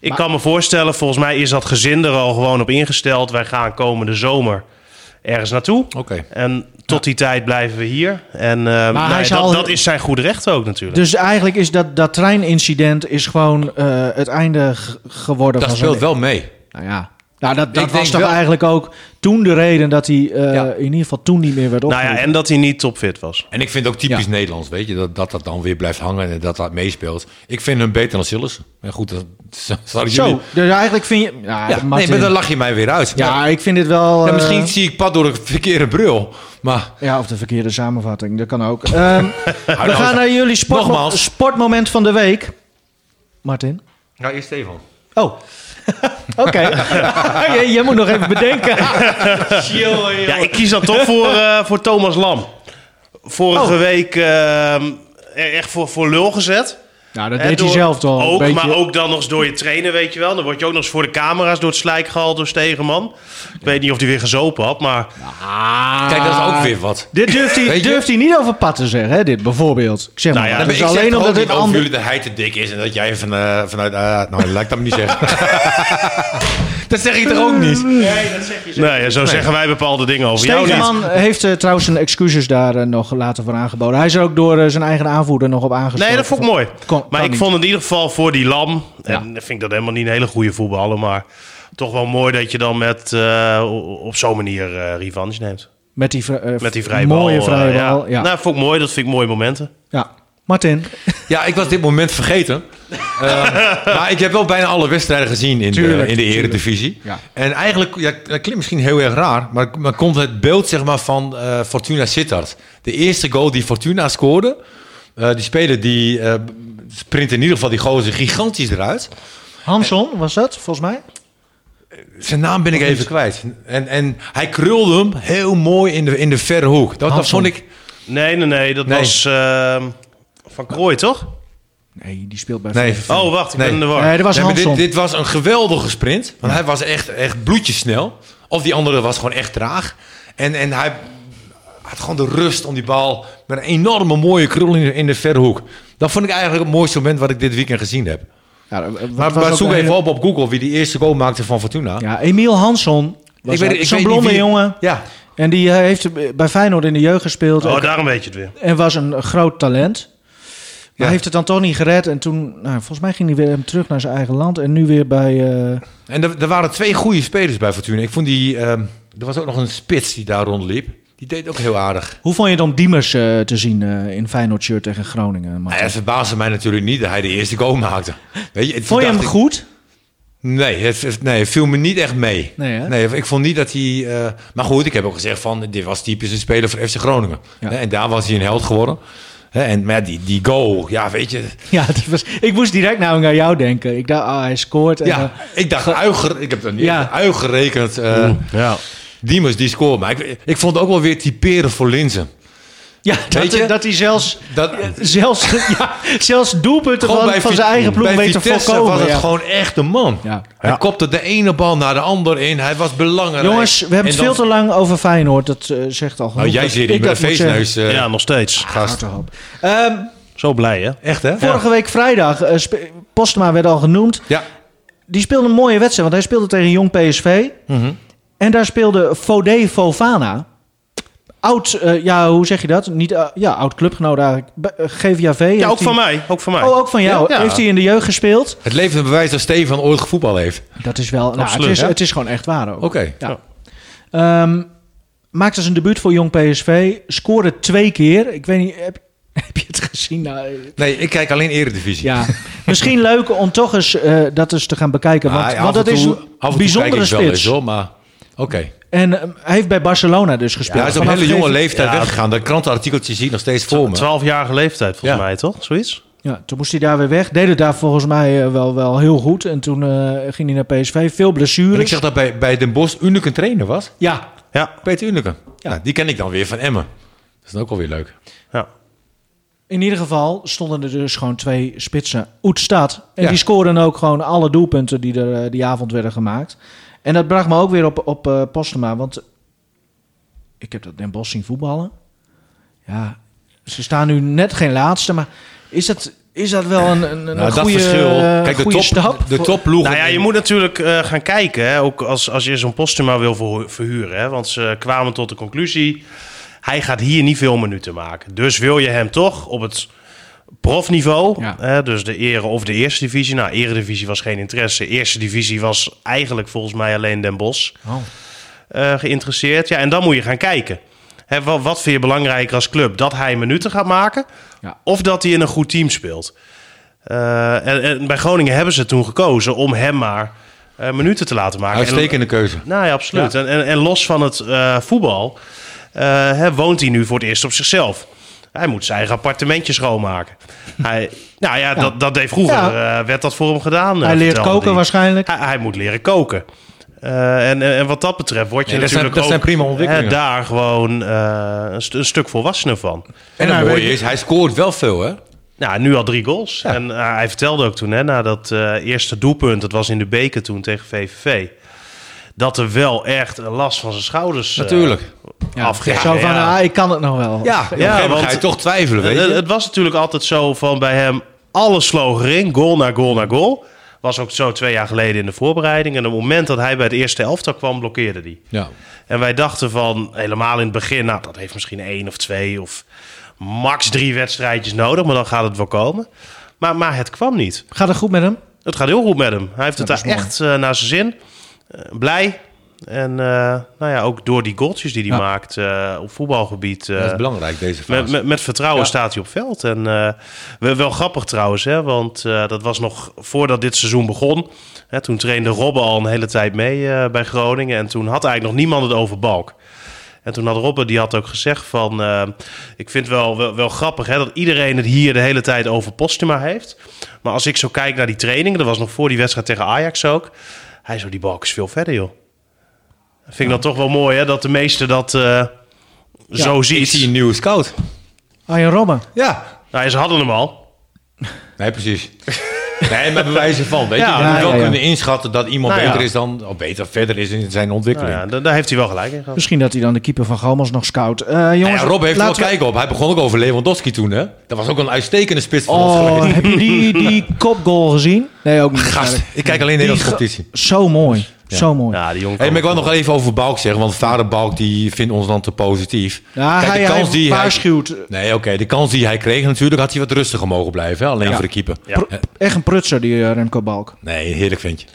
S4: ik kan me voorstellen, volgens mij is dat gezin er al gewoon op ingesteld. Wij gaan komende zomer ergens naartoe.
S3: Oké.
S2: Eh,
S4: En tot die tijd blijven we hier. En eh, nou,
S2: hij
S4: dat,
S2: zal-
S4: dat is zijn goed recht ook natuurlijk.
S2: dus eigenlijk is dat, dat treinincident is gewoon eh, het einde g- geworden
S3: Dat
S2: van
S3: speelt
S2: zijn
S3: wel mee.
S2: Nou ja, nou, dat, dat
S3: Ik
S2: was
S3: denk
S2: toch
S3: wel-
S2: eigenlijk ook toen de reden dat hij eh,
S3: Ja.
S2: in ieder geval toen niet meer werd
S4: nou
S2: opgeroepen.
S4: ja, en dat hij niet topfit was.
S3: En ik vind het ook typisch
S2: Ja.
S3: Nederlands, weet je, dat, dat dat dan weer blijft hangen en dat dat meespeelt. Ik vind hem beter dan Sillissen. En goed, dat zouden jullie...
S2: Zo, dus eigenlijk vind je... Ja,
S3: Ja, nee,
S2: Martin.
S3: maar dan lach je mij weer uit.
S2: ja ik vind dit wel...
S3: Ja,
S2: eh,
S3: misschien zie ik pad door een verkeerde bril, maar...
S2: Ja, of de verkeerde samenvatting, dat kan ook. Ehm, we
S3: nou,
S2: gaan naar jullie sportmo-
S3: nogmaals.
S2: sportmoment van de week. Martin?
S3: Ja, Nou, eerst Stefan.
S2: Oh. Oké. Jij- Jij moet nog even bedenken.
S4: Ja, ik kies dan toch voor, eh, voor Thomas Lam. Vorige
S2: Oh.
S4: week ehm, er echt voor, voor lul gezet.
S2: Nou, dat
S4: Hè,
S2: deed hij
S4: door-
S2: zelf toch.
S4: Ook,
S2: een beetje.
S4: maar ook dan nog eens door je trainer, weet je wel. Dan word je ook nog eens voor de camera's door het slijk gehaald door Stegenman. Ik weet niet of hij weer gezopen had, maar...
S3: Kijk, dat is ook weer wat.
S2: Dit durft hij,
S3: Weet je?
S2: durft hij niet over Pat te zeggen, hè, dit bijvoorbeeld. Ik zeg
S4: Nou
S2: maar,
S4: ja,
S2: dat
S4: maar
S2: is
S3: ik zeg
S2: dus alleen
S3: toch
S2: omdat
S3: ook
S2: dit
S3: niet over
S2: ander...
S3: jullie dat hij te dik is en dat jij van, eh, vanuit... eh, nou, laat ik dat maar niet zeggen. dat zeg ik toch ook niet?
S4: Nee, ja, zo zeggen wij bepaalde dingen over jou niet.
S2: Stegeman heeft eh, trouwens zijn excuses daar eh, nog later voor aangeboden. Hij is er ook door eh, zijn eigen aanvoerder nog op aangesproken.
S4: Nee, dat vond ik mooi.
S2: Kon-
S4: maar
S2: kan
S4: ik
S2: niet.
S4: vond in ieder geval voor die Lam...
S2: Ja.
S4: en ik vind ik dat helemaal niet een hele goede voetballer... maar toch wel mooi dat je dan met, eh, op zo'n manier eh, revanche neemt.
S2: Met die, vri- eh,
S4: Met die vrije bal.
S2: Mooie
S4: eh,
S2: vrije bal, ja.
S4: ja. Nou, vond ik mooi. Dat vind ik mooie momenten.
S2: Ja. Martin,
S3: Ja, ik was dit moment vergeten. Ehm, maar ik heb wel bijna alle wedstrijden gezien in de,
S2: Tuurlijk,
S3: in de eredivisie.
S2: Ja.
S3: En eigenlijk, ja, dat klinkt misschien heel erg raar, maar, maar komt het beeld zeg maar, van eh, Fortuna Sittard. De eerste goal die Fortuna scoorde, eh, die speler die eh, sprint in ieder geval die gozer gigantisch eruit.
S2: Hanson was dat volgens mij?
S3: Zijn naam ben ik even kwijt. En, en hij krulde hem heel mooi in de, in de verre hoek. Dat, dat
S2: Hansom.
S3: vond ik...
S4: Nee, nee, nee. Dat
S3: Nee.
S4: was eh, Van Krooi, toch?
S2: Nee, die speelt bij
S3: Nee,
S2: VVV.
S4: Oh, wacht. Ik
S3: Nee.
S4: ben in de war.
S2: Nee, dat was
S3: Nee, maar
S2: Hanson.
S3: dit, dit was een geweldige sprint. Want hij was echt, echt bloedjesnel. Of die andere was gewoon echt traag. En, en hij had gewoon de rust om die bal met een enorme mooie krul in de, in de verre hoek. Dat vond ik eigenlijk het mooiste moment wat ik dit weekend gezien heb.
S2: Ja, dat- dat
S3: Maar,
S2: was
S3: maar
S2: ook
S3: zoek
S2: een
S3: even
S2: hele-
S3: op op Google wie die eerste goal maakte van Fortuna.
S2: Ja, Emiel Hansson. was
S3: Ik weet-
S2: dat.
S3: ik
S2: Zo'n
S3: weet niet
S2: blonde
S3: wie-
S2: jongen.
S3: Ja,
S2: En die eh, heeft bij Feyenoord in de jeugd gespeeld.
S4: Oh,
S2: ook.
S4: daarom weet je het weer.
S2: En was een groot talent. Maar
S3: Ja.
S2: heeft het dan toch niet gered. En toen, nou, volgens mij ging hij weer hem terug naar zijn eigen land. En nu weer bij... eh,
S3: en er, er waren twee goede spelers bij Fortuna. Ik vond die... ehm, er was ook nog een spits die daar rondliep. Die deed ook heel aardig.
S2: Hoe vond je het om Diemers eh, te zien eh, in Feyenoord shirt tegen Groningen?
S3: Maar
S2: Martin?
S3: het verbaasde mij natuurlijk niet dat hij de eerste goal maakte. Weet je, het-
S2: vond je
S3: dacht
S2: hem
S3: ik-
S2: goed?
S3: Nee, het, het- nee, het viel me niet echt mee.
S2: Nee, hè?
S3: ik vond niet dat hij... eh, maar goed, ik heb ook gezegd van... Dit was typisch een speler voor FC Groningen.
S2: Ja.
S3: Hè, En daar was hij een held geworden. Hè, En maar ja, die, die goal, ja, weet je...
S2: Ja, dat was, ik moest direct namelijk aan jou denken. Ik dacht, ah, hij scoort. En,
S3: Ja,
S2: eh,
S3: ik dacht, uiger, ik heb dat niet
S2: Ja.
S3: uitgerekend. eh
S4: Ja.
S3: Diemers, die scoort. Maar ik, ik vond het ook wel weer typeren voor Linzen.
S2: ja
S3: Weet
S2: dat,
S3: je?
S2: dat hij zelfs,
S3: Dat,
S2: zelfs, ja, zelfs doelpunten van, van
S3: Vi-
S2: zijn eigen ploeg
S3: bij
S2: weet te
S3: Vitesse
S2: voorkomen.
S3: was het
S2: ja.
S3: gewoon echt een man.
S2: Ja.
S3: Hij kopte de ene bal naar de ander in. Hij was belangrijk.
S2: Jongens, we hebben
S3: En
S2: het
S3: dan-
S2: veel te lang over Feyenoord. Dat eh, zegt al genoeg.
S3: Nou, jij
S2: Dat
S3: zit
S2: ik
S3: hier met een
S2: dat moet zeggen.
S3: feestneus, eh,
S4: ja, nog steeds.
S2: Ah,
S3: gast.
S2: Achterhoop. Ehm,
S4: Zo blij, hè?
S3: Echt, hè?
S2: vorige week vrijdag, eh, spe- Postma werd al genoemd.
S3: Ja.
S2: Die speelde een mooie wedstrijd, want hij speelde tegen Jong PSV.
S3: Mhm.
S2: En daar speelde Fode Fofana. Oud, eh, ja, hoe zeg je dat? Niet, eh, ja, oud clubgenoot eigenlijk. Be- eh, GVAV. heeft
S4: Ja, ook
S2: hij-
S4: van mij. Ook van mij.
S2: Oh, ook van jou.
S3: Ja.
S2: Heeft hij in de jeugd gespeeld?
S3: Het levert een bewijs dat Stefan ooit gevoetbal heeft.
S2: Dat is wel... Nou, het,
S4: Absoluut,
S2: is,
S4: hè?
S2: het is gewoon echt waar ook.
S3: Oké.
S2: Ja. Ehm, maakte zijn debuut voor Jong PSV. Scoorde twee keer. Ik weet niet, heb, heb je het gezien? Nou, eh,
S3: Nee, ik kijk alleen Eredivisie.
S2: ja. Misschien leuk om toch eens eh, dat eens te gaan bekijken. Want,
S3: Ah, af
S2: want
S3: en
S2: dat is
S3: toe-
S2: een
S3: af en toe
S2: bijzondere
S3: kijk ik wel
S2: spits.
S3: eens, hoor, maar oké.
S2: en ehm, hij heeft bij Barcelona dus gespeeld.
S3: Ja, hij is op een
S2: Vanaf
S3: hele jonge
S2: gegeven-
S3: leeftijd
S4: Ja.
S3: weggegaan. Dat krantenartikeltje zie ik nog steeds voor me.
S4: 12-jarige leeftijd, volgens
S3: Ja.
S4: mij, toch? Zoiets?
S2: Ja, toen moest hij daar weer weg. Deed het daar volgens mij eh, wel, wel heel goed. En toen eh, ging hij naar PSV. Veel
S3: En
S2: blessures.
S3: ik zeg dat bij, bij Den Bosch Unnek een trainer was.
S2: Ja,
S4: Ja.
S3: Peter Unneke. Ja. die ken ik dan weer van Emmen. Dat is dan ook alweer leuk.
S4: ja.
S2: in ieder geval stonden er dus gewoon twee spitsen. Oetstad. En
S3: Ja.
S2: die scoorden ook gewoon alle doelpunten die er eh, die avond werden gemaakt. En dat bracht me ook weer op, op eh, Postema. Want ik heb dat Den Bosch zien voetballen. Ja, ze staan nu net geen laatste. Maar is dat, is dat wel een, een, een
S3: Nou,
S2: goede,
S3: dat verschil.
S2: eh,
S3: Kijk, de
S2: goede
S3: top,
S2: stap?
S3: de
S2: Voor-
S3: topploeg.
S4: Nou ja, je moet natuurlijk eh, gaan kijken, hè? ook als, als je zo'n postuma wil verhu- verhuren. Hè? Want ze kwamen tot de conclusie, hij gaat hier niet veel minuten maken. Dus wil je hem toch op het profniveau,
S2: Ja.
S4: hè? dus de ere of de eerste divisie. Nou, eredivisie was geen interesse. Eerste divisie was eigenlijk volgens mij alleen Den Bosch
S2: Oh,
S4: eh, geïnteresseerd. Ja, en dan moet je gaan kijken. Hè, wat, wat vind je belangrijker als club? Dat hij minuten gaat maken
S2: Ja.
S4: of dat hij in een goed team speelt? Eh, en, en bij Groningen hebben ze toen gekozen om hem maar eh, minuten te laten maken.
S3: Uitstekende keuze.
S4: En, nou ja, absoluut. En, en, en los van het eh, voetbal eh, hè, woont hij nu voor het eerst op zichzelf. Hij moet zijn eigen appartementje schoonmaken. Hij, nou ja, Dat, dat deed vroeger.
S2: Ja.
S4: eh, werd dat voor hem gedaan. eh,
S2: Hij leert
S4: vertelde
S2: koken
S4: hij.
S2: waarschijnlijk.
S4: Hij, hij moet leren koken. Eh, en, en wat dat betreft word je
S3: Nee, dat zijn-
S4: natuurlijk
S3: dat zijn
S4: ook,
S3: prima ontwikkelingen.
S4: hè, daar gewoon eh, een, st- een stuk volwassener van.
S3: En het
S2: Nou,
S3: mooie
S2: weet-
S3: is, hij scoort wel veel, hè?
S4: Nou, nu al drie goals. En eh, hij vertelde ook toen, hè, na dat eh, eerste doelpunt, dat was in de beker toen tegen VVV, dat er wel echt een last van zijn schouders eh,
S3: Natuurlijk.
S2: Ja.
S4: afging.
S2: Zo van,
S4: Ja.
S2: ah, ik kan het nog wel.
S3: Ja, op een
S4: Ja,
S3: gegeven moment
S4: want-
S3: ga je toch twijfelen, weet
S4: Het-
S3: je?
S4: Het, het was natuurlijk altijd zo van bij hem, alles vloog erin, goal na goal na goal. Was ook zo twee jaar geleden in de voorbereiding. En op het moment dat hij bij het eerste elftal kwam, blokkeerde hij.
S3: Ja.
S4: En wij dachten van, helemaal in het begin, nou, dat heeft misschien één of twee of max drie wedstrijdjes nodig, maar dan gaat het wel komen. Maar, maar het kwam niet.
S2: Gaat het goed met hem?
S4: Het gaat heel goed met hem. Hij heeft het
S2: dat
S4: daar
S2: is mooi.
S4: echt eh, naar zijn zin. Eh, blij. En eh, nou ja, ook door die goaltjes die hij
S2: Ja.
S4: maakt eh, op voetbalgebied. eh,
S3: Dat is belangrijk, deze fase.
S4: met, met, met vertrouwen
S3: Ja.
S4: staat hij op veld. En eh, wel, wel grappig trouwens, hè, want eh, dat was nog voordat dit seizoen begon. Hè, toen trainde Robben al een hele tijd mee eh, bij Groningen. En toen had eigenlijk nog niemand het over Balk. En toen had Robben, die had ook gezegd van... eh, ik vind wel, wel, wel grappig hè, dat iedereen het hier de hele tijd over Postuma heeft. Maar als ik zo kijk naar die trainingen... dat was nog voor die wedstrijd tegen Ajax ook... Hij zo, die balk is veel verder, joh. Vind ik dan toch wel mooi, hè? Dat de meeste dat eh, zo
S3: Ik zie een
S4: ziet.
S3: nieuwe scout.
S2: Arjen Robben.
S3: Ja.
S4: Nou, ze hadden hem al.
S3: Nee, precies. nee, maar bewijzen van. Weet
S4: Ja,
S3: je, je moet
S2: ja,
S3: wel
S2: ja.
S3: kunnen inschatten dat iemand
S4: Nou,
S3: beter
S4: ja.
S3: is dan... Of beter verder is in zijn
S4: Nou
S3: ontwikkeling.
S4: ja, da- daar heeft hij wel gelijk in gehad.
S2: Misschien dat hij dan de keeper van Galmos nog scout. Eh,
S3: Nou
S2: jongens,
S3: ja, Rob heeft er wel
S2: laten we-
S3: kijk op. Hij begon ook over Lewandowski toen, hè? Dat was ook een uitstekende spits van ons
S2: Oh,
S3: geweest.
S2: heb je die, die kopgoal gezien? Nee, ook niet.
S3: Gast,
S2: waarschijnlijk.
S3: ik kijk alleen
S2: Die
S3: Nederlandse
S2: ga-
S3: competitie.
S2: Zo mooi. Zo mooi.
S4: Ja, die jongen.
S3: Hey,
S4: kan
S3: maar ik wil
S4: ook
S3: nog even over Balk zeggen, want vader Balk die vindt ons dan te positief.
S2: Ja, hij, hij waarschuwt. eh,
S3: Nee, oké. de kans die hij kreeg natuurlijk, had hij wat rustiger mogen blijven. Hè? Alleen voor de keeper.
S4: Ja.
S3: Eh,
S2: Echt een prutser, die eh, Remco Balk.
S3: Nee, heerlijk ventje.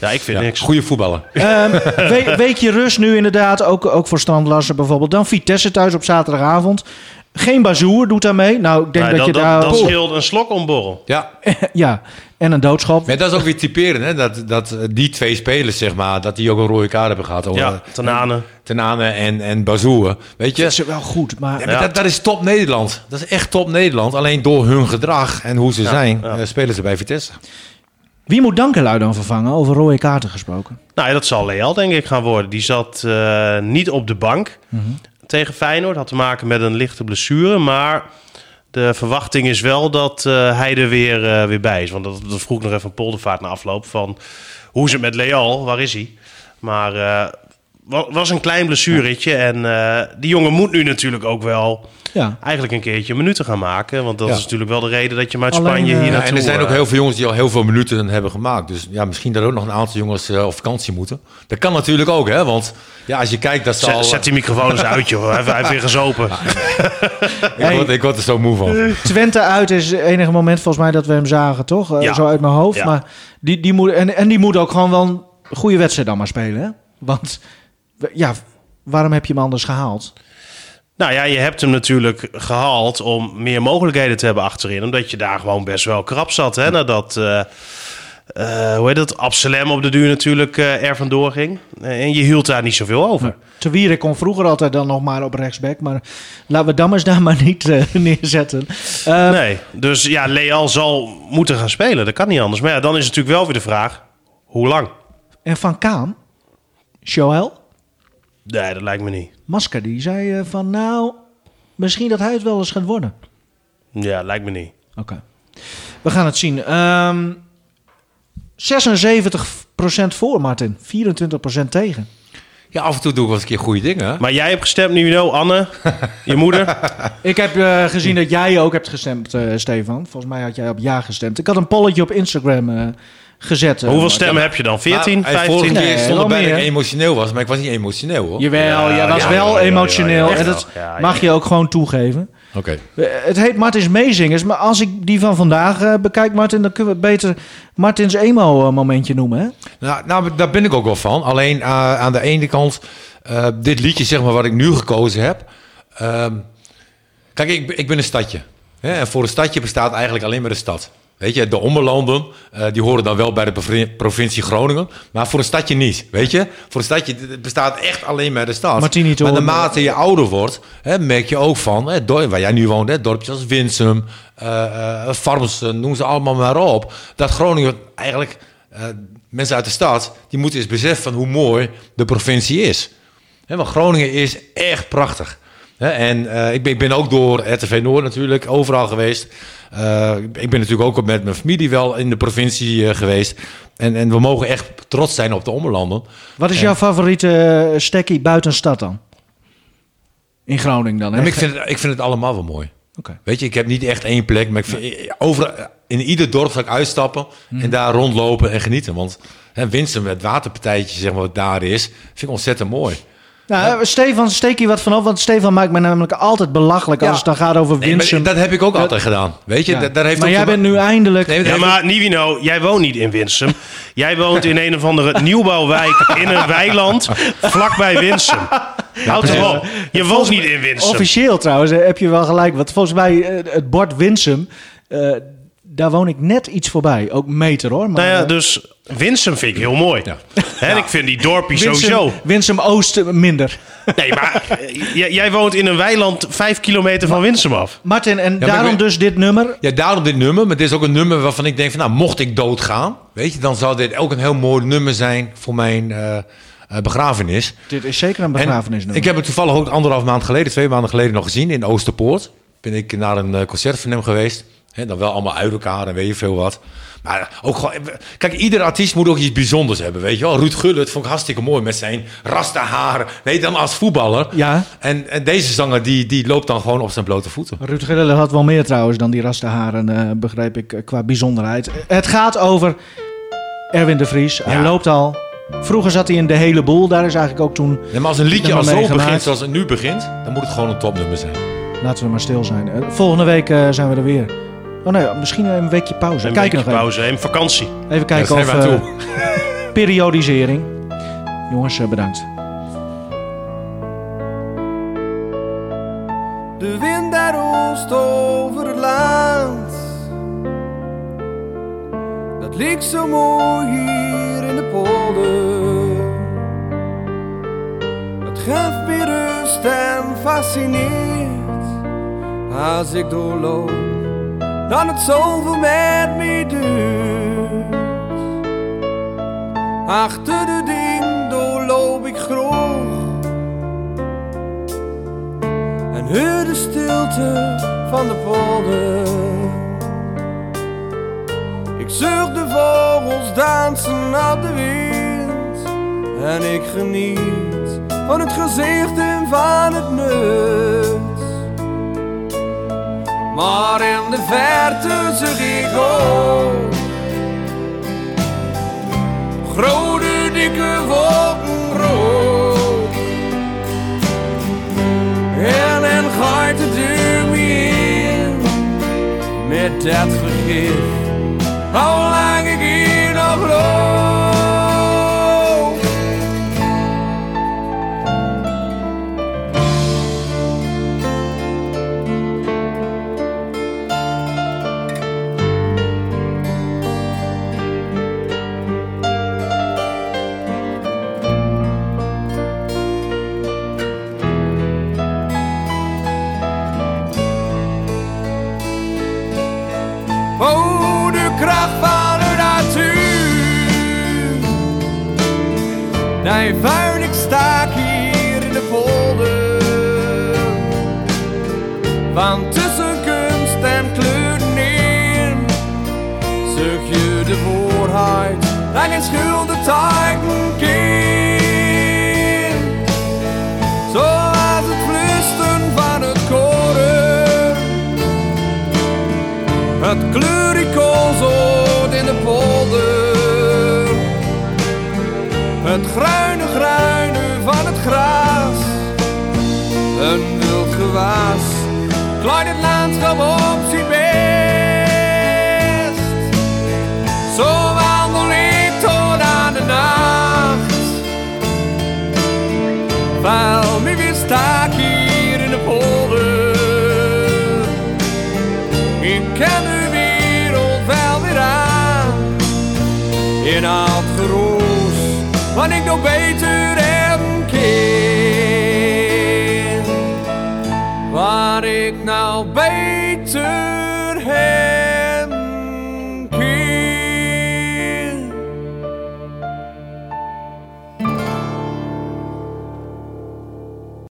S4: Ja, ik vind
S3: Ja,
S4: niks.
S3: goede voetballer.
S2: Ehm, we- weekje rust nu inderdaad, ook, ook voor Strand Larsen bijvoorbeeld. Dan Vitesse thuis op zaterdagavond. Geen bazoer doet daar mee. Nou, ik denk
S4: Nou,
S2: dat, je
S4: dat,
S2: daar...
S4: dat, dat scheelt een slok omborrel.
S3: Ja,
S2: ja, en een doodschap.
S3: maar dat is ook weer typerend, hè? Dat, dat eh, die twee spelers, zeg maar, dat die ook een rode kaart hebben gehad.
S4: Ja, Tanane.
S3: Tenane en, en Bazoer. Weet je,
S2: Dat is wel goed, maar...
S3: Ja, maar Dat, dat is top Nederland. Dat is echt top Nederland. Alleen door hun gedrag en hoe ze zijn, eh, spelen ze bij Vitesse.
S2: Wie moet Dankelui dan vervangen? Over rode kaarten gesproken.
S4: Nou, ja, dat zal Leal denk ik gaan worden. Die zat eh, niet op de bank
S2: Mhm.
S4: tegen Feyenoord. Had te maken met een lichte blessure. Maar de verwachting is wel dat eh, hij er weer, eh, weer bij is. Want dat, dat vroeg ik nog even een poldervaart na afloop. Van hoe is het met Leal? Waar is hij? Maar eh, wa- was een klein blessuretje. En eh, die jongen moet nu natuurlijk ook wel
S2: Ja.
S4: eigenlijk een keertje minuten gaan maken. Want dat
S3: Ja.
S4: is natuurlijk wel de reden dat je hem uit
S2: Alleen,
S4: Spanje
S2: eh, Ja,
S4: hier
S3: Ja,
S4: naartoe...
S3: en er zijn ook
S4: eh,
S3: heel veel jongens die al heel veel minuten hebben gemaakt. Dus ja, misschien dat ook nog een aantal jongens eh, op vakantie moeten. Dat kan natuurlijk ook, hè? Want ja, als je kijkt, dat zal.
S4: Zet, zet die microfoon eens uit, joh. Hij heeft- hij heeft weer gezopen.
S3: ik, word, ik word er zo moe van.
S2: Twente uit is het enige moment volgens mij dat we hem zagen, toch? Eh,
S4: Ja.
S2: Zo uit mijn hoofd.
S4: Ja.
S2: Maar die, die moet, en, en die moet ook gewoon wel een goede wedstrijd dan maar spelen. Hè? Want we- ja, waarom heb je hem anders gehaald?
S4: Nou ja, je hebt hem natuurlijk gehaald om meer mogelijkheden te hebben achterin. Omdat je daar gewoon best wel krap zat. Hè? Nadat, eh, eh, hoe heet dat, Absalem op de duur natuurlijk eh, er vandoor ging. Eh, en je hield daar niet zoveel over.
S2: Te Wierik kon vroeger altijd dan nog maar op rechtsback. Maar laten we Dammers daar maar niet eh, neerzetten. Eh,
S4: Nee, dus ja, Leal zal moeten gaan spelen. Dat kan niet anders. Maar ja, dan is natuurlijk wel weer de vraag, hoe lang?
S2: En Van Kaan, Joël,
S4: Nee, dat lijkt me niet.
S2: Masker, die zei eh, van nou, misschien dat hij het wel eens gaat worden.
S4: Ja, lijkt me niet.
S2: Oké. We gaan het zien. Ehm 76% voor, Martin. 24% tegen.
S3: Ja, af en toe doe ik wel eens een keer goede dingen. hè.
S4: Maar jij hebt gestemd, Nino, Anne, je moeder.
S2: Ik heb eh, gezien dat jij ook hebt gestemd, eh, Stefan. Volgens mij had jij op ja gestemd. Ik had een polletje op Instagram eh, gezet. eh,
S4: Hoeveel
S2: Martin.
S4: stemmen heb je dan?
S3: Maar,
S4: 14,
S3: hey, Vorige
S4: 15?
S2: Nee,
S3: keer stond
S2: wel
S3: erbij dat
S2: meer.
S3: ik emotioneel was, maar ik was niet emotioneel hoor.
S2: Jawel,
S4: Ja,
S2: jij was
S4: ja,
S2: wel
S4: ja, ja,
S2: emotioneel.
S4: ja, ja, ja.
S2: en dat
S4: Ja, ja, ja.
S2: mag je ook gewoon toegeven.
S3: Oké.
S2: Eh, Het heet Martins Meezingers, maar als ik die van vandaag eh, bekijk, Martin, dan kunnen we beter Martins emo-momentje noemen. Hè?
S3: Nou, nou, daar ben ik ook wel van. Alleen eh, aan de ene kant, eh, dit liedje zeg maar wat ik nu gekozen heb. ehm, kijk, ik, ik ben een stadje. Hè? En voor een stadje bestaat eigenlijk alleen maar de stad. Weet je, de ommelanden, eh, die horen dan wel bij de provin- provincie Groningen. Maar voor een stadje niet, weet je. Voor een stadje d- d- bestaat echt alleen maar de stad.
S2: Martini te
S3: maar
S2: horen.
S3: naarmate je ouder wordt, hè, merk je ook van... Hè, dor- waar jij nu woont, hè, dorpjes als Winsum, eh eh Farmsen, noem ze allemaal maar op. Dat Groningen eigenlijk... eh, mensen uit de stad, die moeten eens beseffen van hoe mooi de provincie is. Hè, want Groningen is echt prachtig. Hè, en eh, ik, ben, ik ben ook door RTV Noord natuurlijk overal geweest. Eh, ik ben natuurlijk ook met mijn familie wel in de provincie eh, geweest. En, en we mogen echt trots zijn op de ommelanden.
S2: Wat is jouw favoriete eh, stekkie buiten stad dan? In Groningen dan, hè?
S3: En ik vind, het, ik vind het allemaal wel mooi.
S2: Oké.
S3: Weet je, ik heb niet echt één plek, maar ik vind, over, in ieder dorp ga ik uitstappen
S2: Mhm.
S3: en daar rondlopen en genieten. Want hè, Winsum, het waterpartijtje zeg maar, wat daar is, vind ik ontzettend mooi.
S2: Nou, eh, Stefan, steek hier wat vanaf, want Stefan maakt me namelijk altijd belachelijk als het dan gaat over
S3: Nee, maar
S2: Winsum.
S3: dat heb ik ook altijd gedaan. Weet je,
S2: Ja.
S3: da- daar heeft
S2: maar
S3: ook
S2: jij
S3: te ma-
S2: bent nu eindelijk...
S3: Nee, maar
S4: Ja,
S3: daar
S4: maar Nivino, jij woont niet in Winsum. Jij woont in een of andere nieuwbouwwijk in een weiland vlakbij Winsum. Houd
S3: precies.
S4: er op. Je woont niet in Winsum.
S2: Officieel trouwens eh, heb je wel gelijk, want volgens mij eh, het bord Winsum, eh, daar woon ik net iets voorbij. Ook meter hoor. Maar,
S4: Nou ja,
S2: eh,
S4: dus Winsum vind ik heel mooi.
S3: Ja.
S4: Hè, en ik vind die dorpie
S2: Winsum-
S4: sowieso.
S2: Winsum Oosten minder.
S4: Nee, maar eh, j- jij woont in een weiland vijf kilometer van Winsum af.
S2: Martin, en
S3: maar
S2: daarom
S3: ik weet-
S2: dus dit nummer.
S3: Ja, daarom dit nummer. Maar dit is ook een nummer waarvan ik denk van... nou, mocht ik doodgaan... Weet je, dan zou dit ook een heel mooi nummer zijn voor mijn eh, eh, begrafenis.
S2: Dit is zeker een
S3: En
S2: begrafenisnummer.
S3: Ik heb hem toevallig ook anderhalf maand geleden, twee maanden geleden nog gezien in Oosterpoort. Ben ik naar een eh, concert van hem geweest. Hè, dan wel allemaal uit elkaar en weet je veel wat. Maar ook gewoon, eh, kijk, ieder artiest moet ook iets bijzonders hebben, weet je wel. Ruud Gullit vond ik hartstikke mooi met zijn rasta haar. Nee, dan als voetballer.
S2: Ja.
S3: En, en deze zanger, die, die loopt dan gewoon op zijn blote voeten.
S2: Ruud Gullit had wel meer trouwens dan die rastaharen, eh begreep ik, eh, qua bijzonderheid. Het gaat over Erwin de Vries. Hij
S3: Ja.
S2: loopt al. Vroeger zat hij in de hele boel. Daar is eigenlijk ook toen...
S3: Nee, maar als een liedje al
S2: Nummer
S3: zo
S2: meegemaakt.
S3: begint zoals het nu begint, dan moet het gewoon een topnummer zijn.
S2: Laten we maar stil zijn. Eh, volgende week eh, zijn we er weer. Oh nee, misschien een weekje pauze.
S4: Een
S2: Kijk
S4: weekje
S2: nog even.
S4: pauze, een vakantie.
S2: Even
S3: Daar
S2: kijken
S3: zijn
S2: of...
S3: we aan
S2: eh,
S3: toe.
S2: periodisering. Jongens, eh, bedankt.
S6: De wind daar roest over het land. Dat ligt zo mooi hier in de polder. Het geeft me rust en fascineert. Als ik doorloop, dan het zoveel met me duurt. Achter de ding doorloop ik groot en heur de stilte van de polder. Ik zucht de vogels dansen op de wind en ik geniet van het gezicht en van het nut. Maar in de verte zeg ik ook grote dikke wolken rood. En en gaat de deur weer in met dat vergif. Hoe lang ik hier nog loop. Oh, de kracht van de natuur. Nee, vuil, ik sta hier in de polder. Want tussen kunst en kleuren in zoek je de voorheid. Daar is schulden tijden kind. Zoals het flusten van het koren. Het kleurikoolzoot in de polder. Het gruine gruine van het gras. Een wild gewaas. Klein het landschap op zijn best. Zo wandel ik tot aan de nacht. Wel, nu weer sta ik hier in de polder. Ik ken de wereld wel weer aan. In oud geroes, wat ik nog beter hem ken. Waar ik nou beter.